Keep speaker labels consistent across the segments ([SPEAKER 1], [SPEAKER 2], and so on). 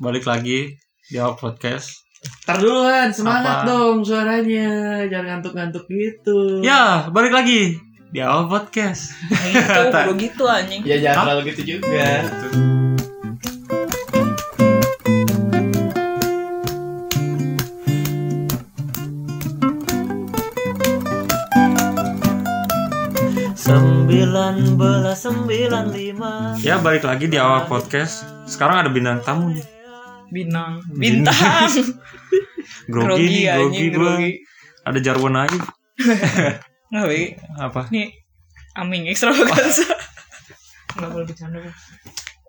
[SPEAKER 1] balik lagi di Awak podcast.
[SPEAKER 2] Ntar duluan, semangat
[SPEAKER 1] Apa?
[SPEAKER 2] dong suaranya. Jangan ngantuk-ngantuk gitu.
[SPEAKER 1] Ya, balik lagi di Awak podcast.
[SPEAKER 3] gitu kudu gitu anjing
[SPEAKER 2] Ya
[SPEAKER 1] Hah?
[SPEAKER 2] jangan terlalu gitu juga.
[SPEAKER 3] sembilan belas sembilan lima
[SPEAKER 1] Ya, balik lagi di Awak podcast. Sekarang ada bintang tamu nih.
[SPEAKER 3] bintang bintang
[SPEAKER 1] Grogi, nih, grogi, gua.
[SPEAKER 3] grogi
[SPEAKER 1] Ada jarwan aja.
[SPEAKER 3] nggak baik
[SPEAKER 1] Apa?
[SPEAKER 3] nih aming ekstravaganza nggak boleh bercanda Bang.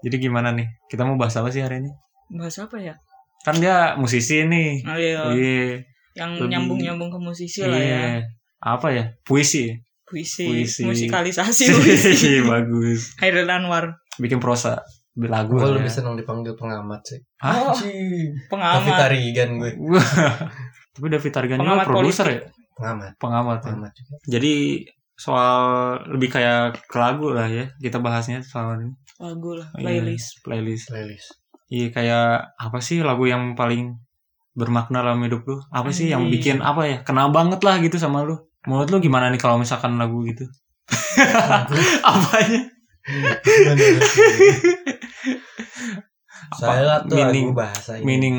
[SPEAKER 1] Jadi gimana nih? Kita mau bahas apa sih hari ini?
[SPEAKER 3] bahas apa ya
[SPEAKER 1] Kan dia musisi nih.
[SPEAKER 3] oh, iya.
[SPEAKER 1] Iya.
[SPEAKER 3] yang
[SPEAKER 1] Lebih-
[SPEAKER 3] nyambung nyambung ke musisi lah ya
[SPEAKER 1] Iya. Apa ya? Puisi.
[SPEAKER 3] puisi,
[SPEAKER 1] Puisi. Iya.
[SPEAKER 3] musikalisasi puisi
[SPEAKER 1] Bagus.
[SPEAKER 3] Hairil Anwar
[SPEAKER 1] Bikin prosa. Lagu.
[SPEAKER 4] Gue
[SPEAKER 1] lah
[SPEAKER 4] Oh, lebih
[SPEAKER 1] ya.
[SPEAKER 4] seneng dipanggil pengamat sih.
[SPEAKER 1] Hah?
[SPEAKER 3] oh
[SPEAKER 4] Tapi
[SPEAKER 3] pengamat
[SPEAKER 4] tarigan gue
[SPEAKER 1] Wah. Tapi David Targan juga
[SPEAKER 3] Pengamat
[SPEAKER 1] produser ya?
[SPEAKER 3] politik.
[SPEAKER 4] pengamat,
[SPEAKER 1] Pengamat ya?
[SPEAKER 4] pengamat juga.
[SPEAKER 1] Jadi soal lebih kayak ke lagu lah ya kita bahasnya soal ini.
[SPEAKER 3] lagu lah
[SPEAKER 1] Iya,
[SPEAKER 3] playlist
[SPEAKER 1] playlist.
[SPEAKER 4] Playlist.
[SPEAKER 1] Iya kayak apa sih lagu yang paling bermakna dalam hidup lu? Apa sih yang bikin
[SPEAKER 3] Anjing.
[SPEAKER 1] apa ya kena banget lah gitu sama lu? Menurut lu gimana nih kalau misalkan lagu gitu? ya? Apanya?
[SPEAKER 4] Menurut gue,
[SPEAKER 1] Apa?
[SPEAKER 4] Saya tuh
[SPEAKER 1] Meaning-
[SPEAKER 4] lagu bahasa ini.
[SPEAKER 1] Meaning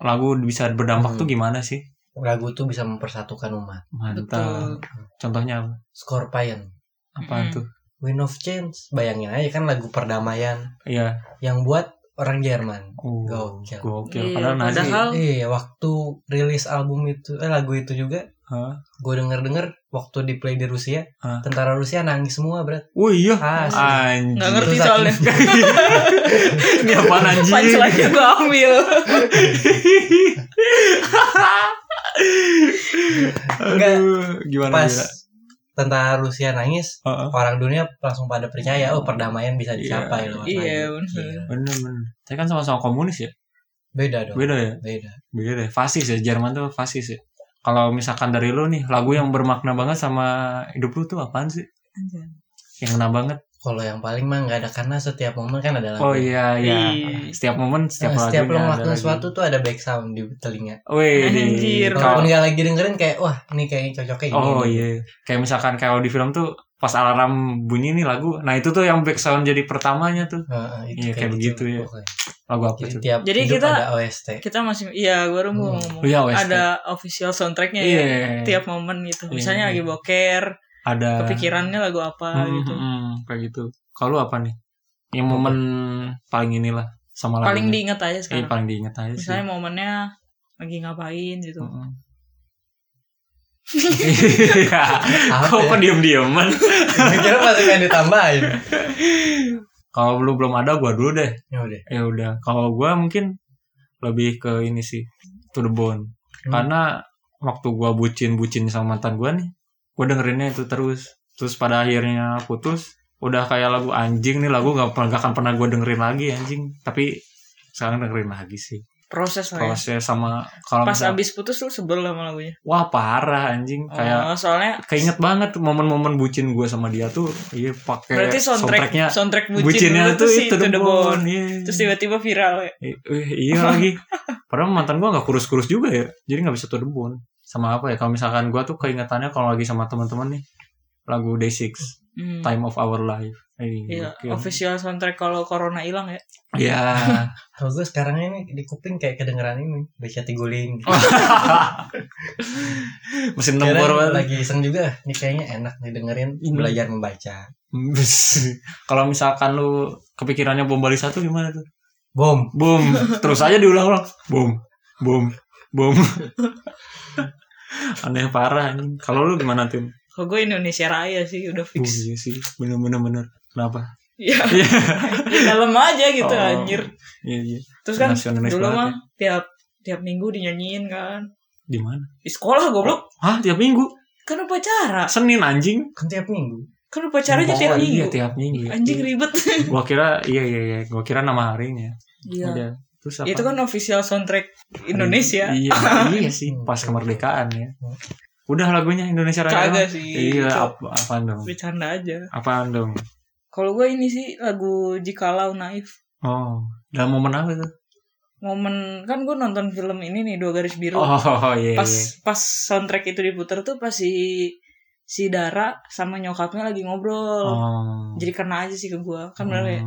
[SPEAKER 1] lagu bisa berdampak
[SPEAKER 4] Hmm.
[SPEAKER 1] tuh gimana sih?
[SPEAKER 4] Lagu tuh bisa mempersatukan umat.
[SPEAKER 1] Mantap.
[SPEAKER 3] betul
[SPEAKER 1] Contohnya apa?
[SPEAKER 4] Scorpion,
[SPEAKER 1] Apaan
[SPEAKER 3] Mm.
[SPEAKER 1] tuh?
[SPEAKER 4] Wind of Change. Bayangin aja kan lagu perdamaian
[SPEAKER 1] Iya.
[SPEAKER 4] yang buat orang Jerman.
[SPEAKER 1] Oh,
[SPEAKER 4] Gokil.
[SPEAKER 1] Gokil.
[SPEAKER 3] Iya,
[SPEAKER 1] Padahal Nazi.
[SPEAKER 3] padahal
[SPEAKER 4] Iya, waktu rilis album itu, eh, lagu itu juga,
[SPEAKER 1] Hah?
[SPEAKER 4] gue denger-denger waktu di play di Rusia,
[SPEAKER 1] Hah?
[SPEAKER 4] tentara Rusia nangis semua, berat.
[SPEAKER 1] Oh iya.
[SPEAKER 4] Asli.
[SPEAKER 1] Anjing.
[SPEAKER 3] nggak ngerti
[SPEAKER 4] Terus
[SPEAKER 3] soalnya
[SPEAKER 1] Ini apaan anjing?
[SPEAKER 3] Punchline-nya gue ambil
[SPEAKER 4] Enggak.
[SPEAKER 1] Aduh, gimana
[SPEAKER 4] Pas
[SPEAKER 1] Gila?
[SPEAKER 4] tentara Rusia nangis,
[SPEAKER 1] Heeh.
[SPEAKER 4] orang dunia langsung pada percaya oh perdamaian bisa dicapai lewat
[SPEAKER 3] Iya,
[SPEAKER 4] lagu.
[SPEAKER 3] bener.
[SPEAKER 4] Iya.
[SPEAKER 1] bener bener tapi kan sama-sama komunis ya
[SPEAKER 4] beda dong
[SPEAKER 1] beda ya
[SPEAKER 4] beda
[SPEAKER 1] beda deh fasis ya Jerman tuh fasis ya kalau misalkan dari lu nih lagu yang bermakna banget sama hidup lu tuh apaan sih
[SPEAKER 3] Anjay.
[SPEAKER 1] yang kena banget
[SPEAKER 4] kalau yang paling mah nggak ada karena setiap momen kan ada lagu
[SPEAKER 1] oh iya iya
[SPEAKER 3] Ih.
[SPEAKER 1] setiap momen setiap
[SPEAKER 4] Nah,
[SPEAKER 1] lagu
[SPEAKER 4] setiap lo ngelakuin sesuatu tuh ada back sound di telinga
[SPEAKER 1] Wih,
[SPEAKER 3] Anjir.
[SPEAKER 4] walaupun
[SPEAKER 1] kalau-
[SPEAKER 4] nggak lagi dengerin kayak wah ini kayaknya cocoknya gini
[SPEAKER 1] oh iya kayak misalkan kalau di film tuh pas alarm bunyi nih lagu nah itu tuh yang back sound jadi pertamanya tuh
[SPEAKER 4] Heeh, itu gitu.
[SPEAKER 1] Iya, kayak begitu ya.
[SPEAKER 4] pokoknya.
[SPEAKER 1] lagu apa
[SPEAKER 4] jadi
[SPEAKER 1] tuh
[SPEAKER 4] tiap
[SPEAKER 3] Jadi
[SPEAKER 4] hidup
[SPEAKER 3] kita-
[SPEAKER 4] ada OST
[SPEAKER 3] kita masih iya gue baru mau ngomong
[SPEAKER 1] Oh iya, OST.
[SPEAKER 3] ada official soundtracknya ya
[SPEAKER 1] iya
[SPEAKER 3] tiap momen gitu
[SPEAKER 1] Iya.
[SPEAKER 3] misalnya lagi boker
[SPEAKER 1] ada
[SPEAKER 3] kepikirannya lagu apa
[SPEAKER 1] Hmm,
[SPEAKER 3] gitu
[SPEAKER 1] hmm, kayak gitu. Kalau lu apa nih? Yang momen paling inilah sama lagunya.
[SPEAKER 3] paling diinget aja
[SPEAKER 1] Iya,
[SPEAKER 3] sekarang
[SPEAKER 1] paling diinget aja sih. Hmm.
[SPEAKER 3] misalnya momennya lagi ngapain gitu
[SPEAKER 1] Mm-mm. Iya.
[SPEAKER 4] apa
[SPEAKER 1] Kok
[SPEAKER 4] ya?
[SPEAKER 1] diem-dieman?
[SPEAKER 4] kira masih pengen ditambahin
[SPEAKER 1] Kalau lu belum ada gua dulu deh.
[SPEAKER 4] ya udah
[SPEAKER 1] Ya udah. Kalau gua mungkin lebih ke ini sih. To the bone.
[SPEAKER 4] Hmm.
[SPEAKER 1] Karena waktu gua bucin-bucin sama mantan gua nih, gua dengerinnya itu terus. Terus pada akhirnya putus, udah kayak lagu anjing nih lagu gak, gak akan pernah gua dengerin lagi anjing. Tapi sekarang dengerin lagi sih.
[SPEAKER 3] proses lah ya.
[SPEAKER 1] proses sama kalau
[SPEAKER 3] pas
[SPEAKER 1] misal-
[SPEAKER 3] abis putus lu sebel sama lagunya
[SPEAKER 1] wah parah anjing kayak
[SPEAKER 3] oh, soalnya
[SPEAKER 1] keinget banget momen-momen bucin gue sama dia tuh iya pakai
[SPEAKER 3] berarti soundtrack
[SPEAKER 1] soundtracknya
[SPEAKER 3] soundtrack bucin
[SPEAKER 1] bucinnya
[SPEAKER 3] dulu
[SPEAKER 1] tuh
[SPEAKER 3] sih
[SPEAKER 1] itu
[SPEAKER 3] To the bone
[SPEAKER 1] Iya.
[SPEAKER 3] terus tiba-tiba viral ya
[SPEAKER 1] Eh, eh, iya lagi padahal mantan gue nggak kurus-kurus juga ya jadi nggak bisa to the bone sama apa ya kalau misalkan gue tuh keingetannya kalau lagi sama teman-teman nih lagu Day Six
[SPEAKER 3] Hmm.
[SPEAKER 1] Time of Our Life
[SPEAKER 3] Iya,
[SPEAKER 1] iya
[SPEAKER 3] official soundtrack kalau corona hilang ya.
[SPEAKER 1] iya
[SPEAKER 4] kalau gue sekarang ini di kuping kayak kedengeran ini baca tiguling
[SPEAKER 1] mesin
[SPEAKER 4] Kira
[SPEAKER 1] tempur banget.
[SPEAKER 4] lagi iseng juga ini kayaknya enak nih dengerin
[SPEAKER 1] Hmm.
[SPEAKER 4] belajar membaca
[SPEAKER 1] Bes. Kalau misalkan lu kepikirannya bom Bali satu gimana tuh?
[SPEAKER 4] bom
[SPEAKER 1] Bom, terus aja diulang-ulang. Bom, bom, bom. Aneh parah anjing. Kalau lu gimana tuh?
[SPEAKER 3] Kalau gue Indonesia Raya sih udah
[SPEAKER 1] Oh,
[SPEAKER 3] fix.
[SPEAKER 1] iya sih, bener-bener bener. Kenapa?
[SPEAKER 3] Iya,
[SPEAKER 1] Iya.
[SPEAKER 3] di dalam aja gitu
[SPEAKER 1] Oh,
[SPEAKER 3] anjir.
[SPEAKER 1] Iya, iya.
[SPEAKER 3] Terus kan
[SPEAKER 1] Nasionalis
[SPEAKER 3] dulu
[SPEAKER 1] banget ya.
[SPEAKER 3] mah tiap tiap minggu dinyanyiin kan.
[SPEAKER 1] Di mana?
[SPEAKER 3] Di sekolah goblok.
[SPEAKER 1] Hah, tiap minggu?
[SPEAKER 3] Kan upacara.
[SPEAKER 1] Senin anjing.
[SPEAKER 4] kan tiap minggu
[SPEAKER 3] Kan upacaranya tiap
[SPEAKER 1] Oh, Iya,
[SPEAKER 3] minggu.
[SPEAKER 1] tiap minggu. ya.
[SPEAKER 3] Anjing ribet.
[SPEAKER 1] Gua kira iya iya iya, gua kira nama harinya.
[SPEAKER 3] Iya.
[SPEAKER 1] Udah. Terus apa?
[SPEAKER 3] Itu kan ya. official soundtrack Indonesia.
[SPEAKER 1] Iya, iya sih, pas kemerdekaan ya. Udah lagunya Indonesia Raya.
[SPEAKER 3] Kagak sih.
[SPEAKER 1] Iya,
[SPEAKER 3] Itu
[SPEAKER 1] apa, apaan dong?
[SPEAKER 3] Bercanda aja.
[SPEAKER 1] Apaan dong?
[SPEAKER 3] Kalau gue ini sih lagu Jikalau Naif.
[SPEAKER 1] Oh, dalam momen apa tuh?
[SPEAKER 3] momen kan gue nonton film ini nih dua garis biru
[SPEAKER 1] Oh iya.
[SPEAKER 3] pas
[SPEAKER 1] iya.
[SPEAKER 3] pas soundtrack itu diputer tuh pas si si Dara sama nyokapnya lagi ngobrol
[SPEAKER 1] Oh.
[SPEAKER 3] jadi kena aja sih ke gue kan bener ya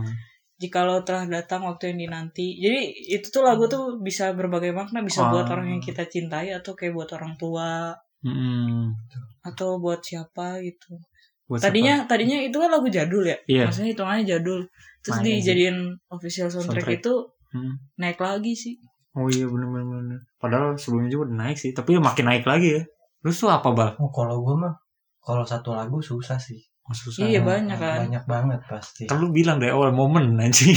[SPEAKER 3] jikalau telah datang waktu yang dinanti jadi itu tuh lagu tuh bisa berbagai makna bisa buat
[SPEAKER 1] Ah.
[SPEAKER 3] orang yang kita cintai atau kayak buat orang tua
[SPEAKER 1] Mm-mm.
[SPEAKER 3] atau buat siapa gitu
[SPEAKER 1] Buat
[SPEAKER 3] tadinya tadinya itu kan lagu jadul ya
[SPEAKER 1] siapa? Iya.
[SPEAKER 3] maksudnya hitungannya jadul terus
[SPEAKER 1] Makanya sih.
[SPEAKER 3] dijadiin official soundtrack,
[SPEAKER 1] Soundtrack.
[SPEAKER 3] itu
[SPEAKER 1] Hmm.
[SPEAKER 3] naik lagi sih
[SPEAKER 1] Oh iya bener bener bener. Padahal sebelumnya juga udah naik sih, tapi makin naik lagi ya. Lu tuh apa bal?
[SPEAKER 4] Oh, kalau gue mah kalau satu lagu susah sih.
[SPEAKER 1] Oh, susah.
[SPEAKER 3] Iya, banyak kan.
[SPEAKER 4] Banyak banget pasti.
[SPEAKER 1] Kan lu bilang dari awal momen anjing.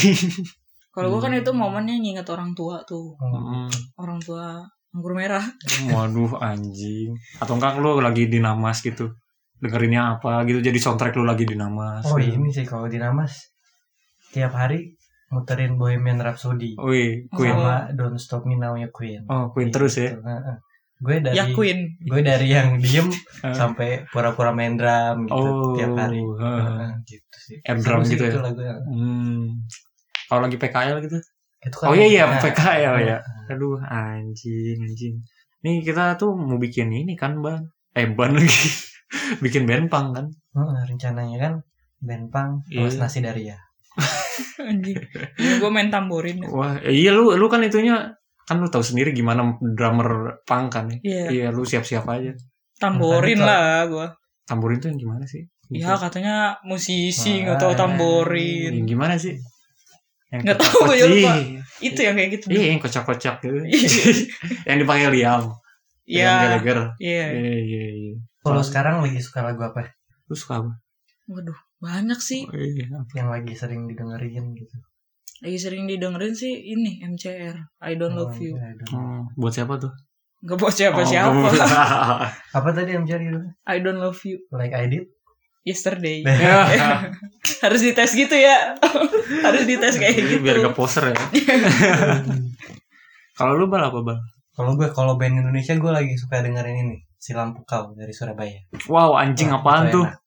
[SPEAKER 3] kalau gua kan
[SPEAKER 1] Hmm.
[SPEAKER 3] itu momennya nginget orang tua tuh
[SPEAKER 1] Mm-mm.
[SPEAKER 3] orang tua anggur merah
[SPEAKER 1] Waduh anjing. Atau enggak lu lagi di namas gitu. Dengerinnya apa gitu jadi soundtrack lu lagi di namas.
[SPEAKER 4] Oh ini sih kalau di Namas tiap hari muterin Bohemian Rhapsody
[SPEAKER 1] Wih, Queen.
[SPEAKER 4] sama Don't Stop Me Now-nya Queen.
[SPEAKER 1] Oh, Queen terus ya.
[SPEAKER 4] Gitu, heeh. Gue dari
[SPEAKER 3] ya Queen
[SPEAKER 4] gue dari yang diem
[SPEAKER 1] Eh.
[SPEAKER 4] sampai pura-pura main drum gitu
[SPEAKER 1] Oh.
[SPEAKER 4] tiap hari.
[SPEAKER 1] heeh.
[SPEAKER 4] Heeh, gitu sih.
[SPEAKER 1] Air drum
[SPEAKER 4] Seru sih
[SPEAKER 1] gitu ya?
[SPEAKER 4] itu lagu. heeh.
[SPEAKER 1] Hmm. Kalau lagi PKL gitu.
[SPEAKER 4] Itu kan
[SPEAKER 1] Oh iya iya
[SPEAKER 4] nah,
[SPEAKER 1] PKL ya. Aduh anjing anjing. Nih kita tuh mau bikin ini kan ban. Eh ban lagi. bikin benpang kan.
[SPEAKER 4] heeh, rencananya kan Benpang plus
[SPEAKER 1] Iya.
[SPEAKER 4] nasi dari ya.
[SPEAKER 3] anjing gue main tamborin
[SPEAKER 1] Wah eh, iya lu lu kan itunya kan lu tahu sendiri gimana drummer punk kan ya.
[SPEAKER 3] Iya,
[SPEAKER 1] Iya lu siap-siap aja.
[SPEAKER 3] tamborin lah
[SPEAKER 4] Makanya
[SPEAKER 3] gua.
[SPEAKER 1] Tamburin tuh yang gimana sih? Iya.
[SPEAKER 3] Ya katanya musisi nggak tahu
[SPEAKER 4] Wah.
[SPEAKER 1] Yang
[SPEAKER 3] tamborin.
[SPEAKER 1] gimana sih? Yang
[SPEAKER 3] Nggak tahu,
[SPEAKER 1] kocak-kocak.
[SPEAKER 3] gua lupa.
[SPEAKER 1] Ih,
[SPEAKER 3] Itu yang kayak gitu.
[SPEAKER 1] Iya yang kocak-kocak gitu.
[SPEAKER 3] Iya.
[SPEAKER 1] yang dipakai Liam.
[SPEAKER 3] Iya,
[SPEAKER 1] Liam Gallagher.
[SPEAKER 3] iya.
[SPEAKER 1] Iya iya iya.
[SPEAKER 4] Kalau sekarang lagi suka lagu apa? ya?
[SPEAKER 1] Lu suka apa?
[SPEAKER 3] Waduh, banyak sih.
[SPEAKER 1] Oh, iya.
[SPEAKER 4] Yang lagi sering didengerin gitu.
[SPEAKER 3] Lagi sering didengerin sih ini MCR, I Don't Love
[SPEAKER 4] Oh,
[SPEAKER 3] You.
[SPEAKER 4] I don't know.
[SPEAKER 1] Hmm, buat siapa tuh?
[SPEAKER 3] Gak buat siapa-siapa.
[SPEAKER 1] Oh,
[SPEAKER 4] Apa tadi yang cari dulu?
[SPEAKER 3] I Don't Love You
[SPEAKER 4] Like I did.
[SPEAKER 3] Yesterday.
[SPEAKER 1] Ya.
[SPEAKER 3] Harus dites gitu ya. Harus dites kayak
[SPEAKER 1] Jadi
[SPEAKER 3] gitu.
[SPEAKER 1] biar gak poser ya. Kalau lu bal apa bal?
[SPEAKER 4] Kalau gue kalau band Indonesia gue lagi suka dengerin ini Silam Pukau dari Surabaya.
[SPEAKER 1] Wow anjing
[SPEAKER 4] Wah,
[SPEAKER 1] apaan
[SPEAKER 4] itu
[SPEAKER 1] tuh?
[SPEAKER 4] enak.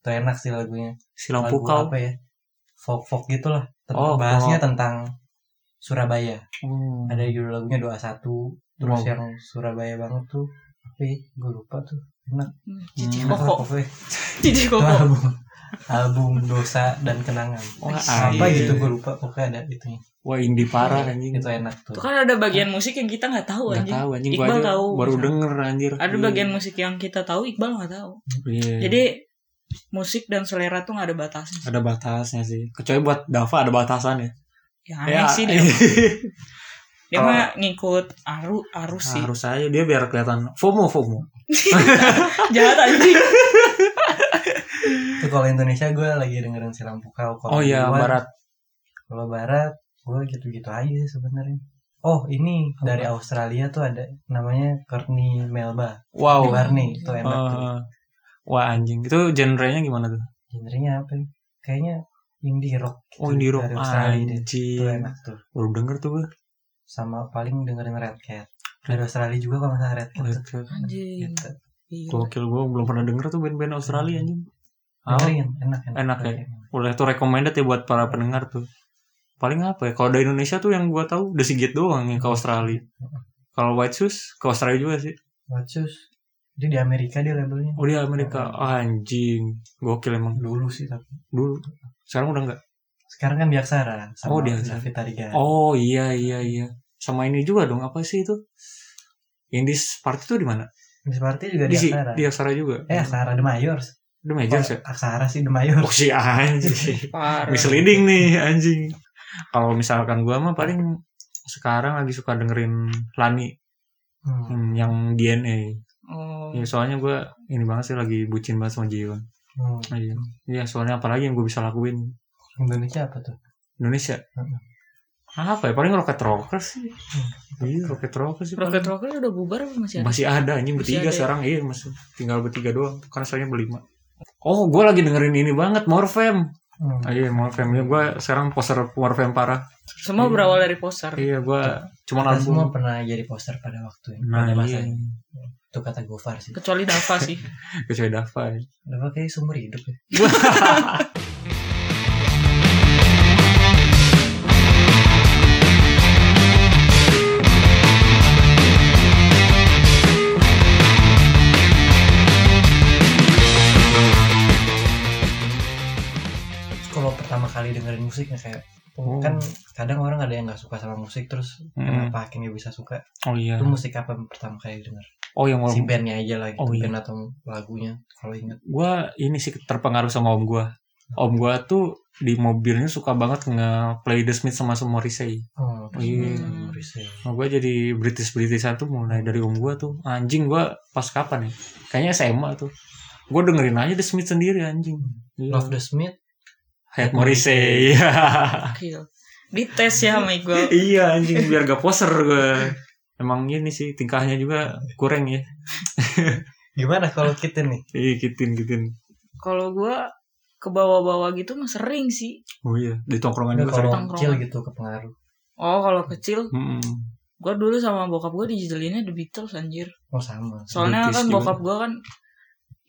[SPEAKER 4] Itu enak sih lagunya.
[SPEAKER 1] Silang
[SPEAKER 4] Lagu
[SPEAKER 1] pukau.
[SPEAKER 4] apa ya? Folk folk gitulah. Ten-
[SPEAKER 1] Oh,
[SPEAKER 4] bahasnya tentang Surabaya.
[SPEAKER 1] Hmm.
[SPEAKER 4] Ada judul lagunya doa satu. Terus
[SPEAKER 1] Wow.
[SPEAKER 4] yang Surabaya banget tuh. Tapi gue lupa tuh.
[SPEAKER 1] Oh,
[SPEAKER 4] Enak.
[SPEAKER 3] Cici
[SPEAKER 4] Enak lah
[SPEAKER 3] koko.
[SPEAKER 4] pokoknya.
[SPEAKER 3] Cici
[SPEAKER 4] Itu
[SPEAKER 3] koko.
[SPEAKER 4] album album dosa dan kenangan.
[SPEAKER 1] Wah,
[SPEAKER 4] apa
[SPEAKER 1] anjing.
[SPEAKER 4] gitu gue lupa pokoknya ada itunya.
[SPEAKER 1] Wah indie parah anjing.
[SPEAKER 4] Itu enak tuh.
[SPEAKER 3] Itu kan ada bagian musik yang kita nggak Iya. tahu
[SPEAKER 1] Gak
[SPEAKER 3] anjing.
[SPEAKER 1] tahu anjing gua
[SPEAKER 3] Iqbal
[SPEAKER 1] aja
[SPEAKER 3] tahu.
[SPEAKER 1] baru denger anjir.
[SPEAKER 3] Ada bagian musik yang kita tahu, Iqbal nggak tahu.
[SPEAKER 1] Iya.
[SPEAKER 3] Jadi musik dan selera tuh nggak ada batasnya.
[SPEAKER 1] ada batasnya sih. Kecuali buat Dava ada batasannya.
[SPEAKER 3] Ya aneh sih
[SPEAKER 1] iya.
[SPEAKER 3] dia. Dia mah ngikut aru arus sih.
[SPEAKER 1] Harus aja dia biar kelihatan FOMO FOMO.
[SPEAKER 3] Kan Jahat anjing.
[SPEAKER 4] Itu kalau Indonesia gue lagi dengerin Silang Pukau. Kalau
[SPEAKER 1] Oh iya
[SPEAKER 4] luar,
[SPEAKER 1] barat.
[SPEAKER 4] Kalau barat gue gitu-gitu aja sih sebenarnya. Oh ini
[SPEAKER 1] Apa?
[SPEAKER 4] dari Australia tuh ada namanya Courtney Melba.
[SPEAKER 1] Wow.
[SPEAKER 4] Oh, Barney itu enak tuh.
[SPEAKER 1] Eh, wah anjing itu genrenya gimana tuh?
[SPEAKER 4] Genrenya apa? ya? Kayaknya indie rock. gitu,
[SPEAKER 1] Oh indie rock
[SPEAKER 4] dari Australia dia. Itu
[SPEAKER 1] anjing.
[SPEAKER 4] enak tuh.
[SPEAKER 1] Baru denger tuh gue.
[SPEAKER 4] Sama paling dengerin Red Cat. Dari Australia juga kalau nggak salah Red Cat. tuh.
[SPEAKER 3] Anjing.
[SPEAKER 4] Gitu.
[SPEAKER 3] Gila.
[SPEAKER 1] Gokil gue belum pernah denger tuh band-band Australia anjing. Ah,
[SPEAKER 4] Dengerin enak enak.
[SPEAKER 1] Enak ya? Boleh tuh recommended ya buat para pendengar tuh. Paling apa ya? Kalau dari Indonesia tuh yang gua tahu The Sigit doang yang ke Australia. Kalau White Shoes ke Australia juga sih.
[SPEAKER 4] Watchus. Dia di Amerika dia labelnya.
[SPEAKER 1] Oh dia Amerika anjing. Gokil emang
[SPEAKER 4] Dulu sih tapi.
[SPEAKER 1] dulu. Sekarang udah enggak.
[SPEAKER 4] Sekarang kan di Aksara. Sama
[SPEAKER 1] Oh, di Aksara.
[SPEAKER 4] David Tarigan.
[SPEAKER 1] Oh iya iya iya. Sama ini juga dong apa sih itu? Indies Party tuh di mana?
[SPEAKER 4] Miss Party juga
[SPEAKER 1] Di
[SPEAKER 4] di,
[SPEAKER 1] si-
[SPEAKER 4] Aksara.
[SPEAKER 1] di Aksara juga.
[SPEAKER 4] Eh Aksara The Mayors.
[SPEAKER 1] The Majors ya?
[SPEAKER 4] Aksara sih The Mayors.
[SPEAKER 1] Oh si anjing.
[SPEAKER 3] Parah.
[SPEAKER 1] misleading nih anjing kalau misalkan gua mah paling sekarang lagi suka dengerin Lani hmm,
[SPEAKER 4] Hmm.
[SPEAKER 1] yang DNA
[SPEAKER 3] Oh.
[SPEAKER 1] ya soalnya gua ini banget sih lagi bucin banget sama Jiwon
[SPEAKER 4] Hmm.
[SPEAKER 1] iya Iya, soalnya apalagi yang gue bisa lakuin
[SPEAKER 4] Indonesia apa tuh?
[SPEAKER 1] Indonesia
[SPEAKER 4] Hmm.
[SPEAKER 1] apa ya paling Rocket Rockers sih iya Rocket Rockers sih
[SPEAKER 3] Rocket
[SPEAKER 1] paling.
[SPEAKER 3] Rocker udah bubar apa masih ada?
[SPEAKER 1] masih ada anjing
[SPEAKER 3] Masih
[SPEAKER 1] bertiga
[SPEAKER 3] ada ya?
[SPEAKER 1] sekarang iya masih tinggal bertiga doang karena soalnya berlima oh gua lagi dengerin ini banget Morfem
[SPEAKER 4] Hmm.
[SPEAKER 1] ah, iya Morfem ya gue sekarang poster Morfem parah
[SPEAKER 3] Semua
[SPEAKER 1] Iya.
[SPEAKER 3] berawal dari poster.
[SPEAKER 1] iya gua cuman
[SPEAKER 4] Kita
[SPEAKER 1] album
[SPEAKER 4] semua pernah jadi poster pada waktu
[SPEAKER 1] Nah,
[SPEAKER 4] pada
[SPEAKER 1] iya.
[SPEAKER 4] masanya. Itu kata Gofar sih.
[SPEAKER 3] Kecuali Dava sih.
[SPEAKER 1] Kecuali Dava. ya.
[SPEAKER 4] Apa kayak sumber hidup ya? musiknya kayak
[SPEAKER 1] Oh.
[SPEAKER 4] kan kadang orang ada yang nggak suka sama musik terus
[SPEAKER 1] Mm.
[SPEAKER 4] kenapa akhirnya bisa suka
[SPEAKER 1] oh iya
[SPEAKER 4] itu musik apa yang pertama kali denger
[SPEAKER 1] oh yang
[SPEAKER 4] si bandnya aja lagi
[SPEAKER 1] Oh, iya.
[SPEAKER 4] band atau lagunya kalau ingat
[SPEAKER 1] gue ini sih terpengaruh sama om gue om gue tuh di mobilnya suka banget nge-play The Smith sama semua Morrissey
[SPEAKER 4] oh
[SPEAKER 1] iya.
[SPEAKER 4] Tom Morrissey.
[SPEAKER 1] nah, gue jadi British Britishan tuh mulai dari om gue tuh anjing gue pas kapan ya kayaknya SMA tuh gue dengerin aja The Smith sendiri anjing Iya.
[SPEAKER 4] Love the Smith
[SPEAKER 1] Hayat Morrissey iya
[SPEAKER 3] Gokil. Dites ya sama gue.
[SPEAKER 1] iya anjing biar gak poser gue emang ini sih tingkahnya juga kurang ya
[SPEAKER 4] gimana kalau kita nih
[SPEAKER 1] iya kitin kitin
[SPEAKER 3] Kalau gue ke bawah-bawah gitu mah sering sih.
[SPEAKER 1] oh iya di tongkrongan juga sering
[SPEAKER 4] kalau
[SPEAKER 3] Tongkrongan.
[SPEAKER 4] kecil gitu kepengaruh
[SPEAKER 3] Oh kalau kecil
[SPEAKER 1] Mm-mm.
[SPEAKER 3] gue dulu sama bokap gue dijelinnya The Beatles anjir.
[SPEAKER 4] oh sama
[SPEAKER 3] Soalnya
[SPEAKER 1] British
[SPEAKER 3] kan
[SPEAKER 1] juga.
[SPEAKER 3] bokap gue kan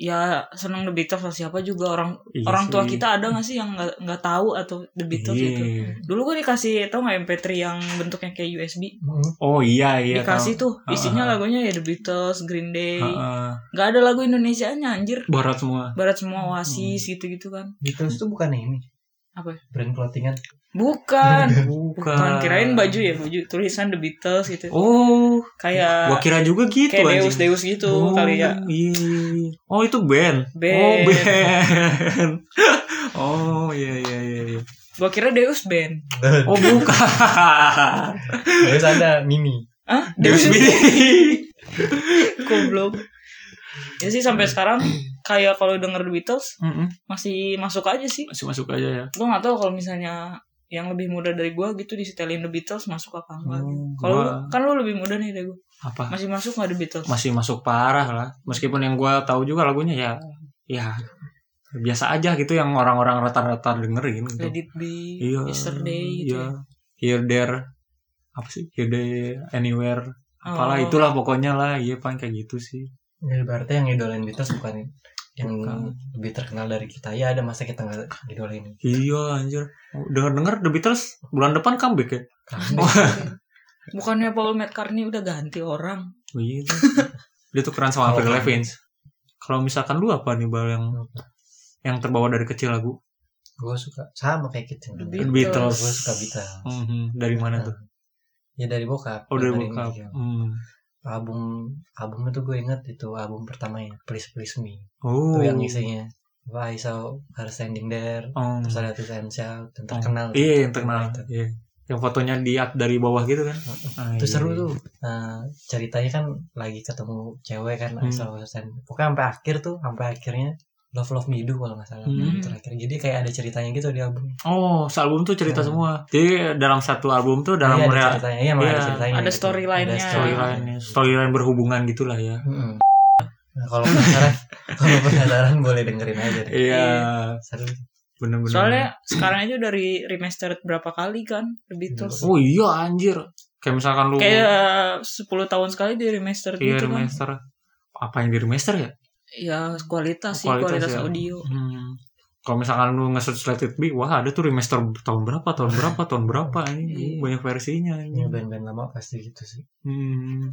[SPEAKER 3] ya seneng The Beatles lah siapa juga orang
[SPEAKER 1] Iya
[SPEAKER 3] orang tua
[SPEAKER 1] sih.
[SPEAKER 3] kita gitu ada gak sih yang nggak nggak tahu atau The Beatles
[SPEAKER 1] Iya.
[SPEAKER 3] itu. Dulu gue dikasih tau nggak MP3 yang bentuknya kayak USB.
[SPEAKER 4] Mm.
[SPEAKER 1] oh iya iya
[SPEAKER 3] dikasih tuh
[SPEAKER 1] Ah,
[SPEAKER 3] isinya lagunya ya The Beatles, Green Day.
[SPEAKER 1] tahu. Heeh.
[SPEAKER 3] Gak ada lagu Indonesianya anjir.
[SPEAKER 1] barat semua
[SPEAKER 3] Barat semua Oasis
[SPEAKER 1] Hmm.
[SPEAKER 3] gitu-gitu kan.
[SPEAKER 4] Beatles tuh bukan ini
[SPEAKER 3] Apa? ya?
[SPEAKER 4] brand clothingan
[SPEAKER 3] Bukan.
[SPEAKER 1] bukan
[SPEAKER 3] Bukan kirain baju ya baju tulisan The Beatles gitu.
[SPEAKER 1] oh gua
[SPEAKER 3] kayak
[SPEAKER 1] kira juga gitu
[SPEAKER 3] Ya. kayak Deus
[SPEAKER 1] anjing.
[SPEAKER 3] Deus gitu
[SPEAKER 1] oh,
[SPEAKER 3] kali ya.
[SPEAKER 1] iya, iya, iya. oh itu band
[SPEAKER 3] Band.
[SPEAKER 1] oh band oh iya iya iya iya.
[SPEAKER 3] Gua kira Deus Band.
[SPEAKER 1] oh bukan
[SPEAKER 4] terus ada Mimi
[SPEAKER 3] Ah,
[SPEAKER 1] Deus Mini
[SPEAKER 3] goblok. Ya sih sampai sekarang kayak kalau denger The Beatles masih masuk aja sih.
[SPEAKER 1] masuk masuk aja ya
[SPEAKER 3] Gua nggak tahu kalau misalnya yang lebih muda dari gua gitu disetelin The Beatles masuk apa enggak. gitu.
[SPEAKER 1] Hmm,
[SPEAKER 3] Kalau lu,
[SPEAKER 1] gua-
[SPEAKER 3] kan lu lebih muda nih dari gua.
[SPEAKER 1] apa
[SPEAKER 3] Masih masuk nggak The Beatles?
[SPEAKER 1] masih masuk parah lah meskipun yang gua tahu juga lagunya ya ya biasa aja gitu yang orang-orang rata-rata dengerin gitu
[SPEAKER 3] Let it be,
[SPEAKER 4] Iya,
[SPEAKER 3] yesterday gitu
[SPEAKER 1] iya.
[SPEAKER 3] ya.
[SPEAKER 1] here there apa sih here there anywhere apalah
[SPEAKER 3] Oh.
[SPEAKER 1] itulah pokoknya lah iya paling kayak gitu sih
[SPEAKER 4] jadi Ya, berarti yang idolain Beatles bukan yang
[SPEAKER 1] Bukan.
[SPEAKER 4] lebih terkenal dari kita ya ada masa kita nggak idolain
[SPEAKER 1] iya anjir denger dengar The Beatles bulan depan comeback ya
[SPEAKER 3] Bukannya Paul McCartney udah ganti orang?
[SPEAKER 1] Oh, iya tuh. dia tuh keren sama
[SPEAKER 4] Kalau
[SPEAKER 1] Avril
[SPEAKER 4] kamu-
[SPEAKER 1] Lavigne kalau misalkan lu apa nih bal yang yang terbawa dari kecil lagu
[SPEAKER 4] gue suka sama kayak kita Iya,
[SPEAKER 3] The
[SPEAKER 1] The
[SPEAKER 3] Beatles.
[SPEAKER 1] Beatles
[SPEAKER 4] gue suka Beatles
[SPEAKER 1] Mhm, dari mana tuh
[SPEAKER 4] ya dari bokap
[SPEAKER 1] oh dari
[SPEAKER 4] dengerin
[SPEAKER 1] bokap
[SPEAKER 4] dia.
[SPEAKER 1] Hmm.
[SPEAKER 4] album album itu gue inget itu album pertamanya Please Please Me
[SPEAKER 1] oh
[SPEAKER 4] itu yang isinya Why So Her Standing There
[SPEAKER 1] Oh.
[SPEAKER 4] terus ada Twist and Shout yang
[SPEAKER 1] Oh.
[SPEAKER 4] terkenal gitu. Nah,
[SPEAKER 1] iya yang terkenal
[SPEAKER 4] itu.
[SPEAKER 1] Iya. yang fotonya di up dari bawah gitu kan Ah,
[SPEAKER 4] itu
[SPEAKER 1] iya,
[SPEAKER 4] seru
[SPEAKER 1] iya.
[SPEAKER 4] tuh Nah, ceritanya kan lagi ketemu cewek kan
[SPEAKER 1] Hmm.
[SPEAKER 4] I Saw Her Standing pokoknya sampai akhir tuh sampai akhirnya Love Love Me Do kalau nggak salah
[SPEAKER 1] Hmm.
[SPEAKER 4] terakhir jadi kayak ada ceritanya gitu di album
[SPEAKER 1] oh sealbum tuh cerita
[SPEAKER 4] Hmm.
[SPEAKER 1] semua jadi dalam satu album tuh dalam
[SPEAKER 4] Iya, ada
[SPEAKER 1] rea-
[SPEAKER 4] ceritanya iya, emang
[SPEAKER 1] Iya.
[SPEAKER 4] ada ceritanya
[SPEAKER 3] Ada storyline-nya.
[SPEAKER 1] storyline storyline berhubungan gitulah ya
[SPEAKER 4] Mm-mm. Nah, kalau penasaran kalau penasaran boleh dengerin aja deh.
[SPEAKER 1] iya
[SPEAKER 4] Seru.
[SPEAKER 1] bener-bener
[SPEAKER 3] Soalnya sekarang aja dari remastered berapa kali kan The Beatles.
[SPEAKER 1] oh iya anjir kayak misalkan lu
[SPEAKER 3] Kayak 10 tahun sekali di remaster
[SPEAKER 1] iya
[SPEAKER 3] gitu kan.
[SPEAKER 1] remaster apa yang di remaster ya
[SPEAKER 3] Ya kualitas sih,
[SPEAKER 1] Kualitas
[SPEAKER 3] kualitas,
[SPEAKER 1] ya.
[SPEAKER 3] audio.
[SPEAKER 1] Hmm. Kalau misalkan lu nge-search Let It Be, wah ada tuh remaster tahun berapa, tahun berapa, tahun berapa ini Uh,
[SPEAKER 3] Iya.
[SPEAKER 1] banyak versinya. ini.
[SPEAKER 4] Ini band-band lama pasti gitu sih.
[SPEAKER 1] Hmm.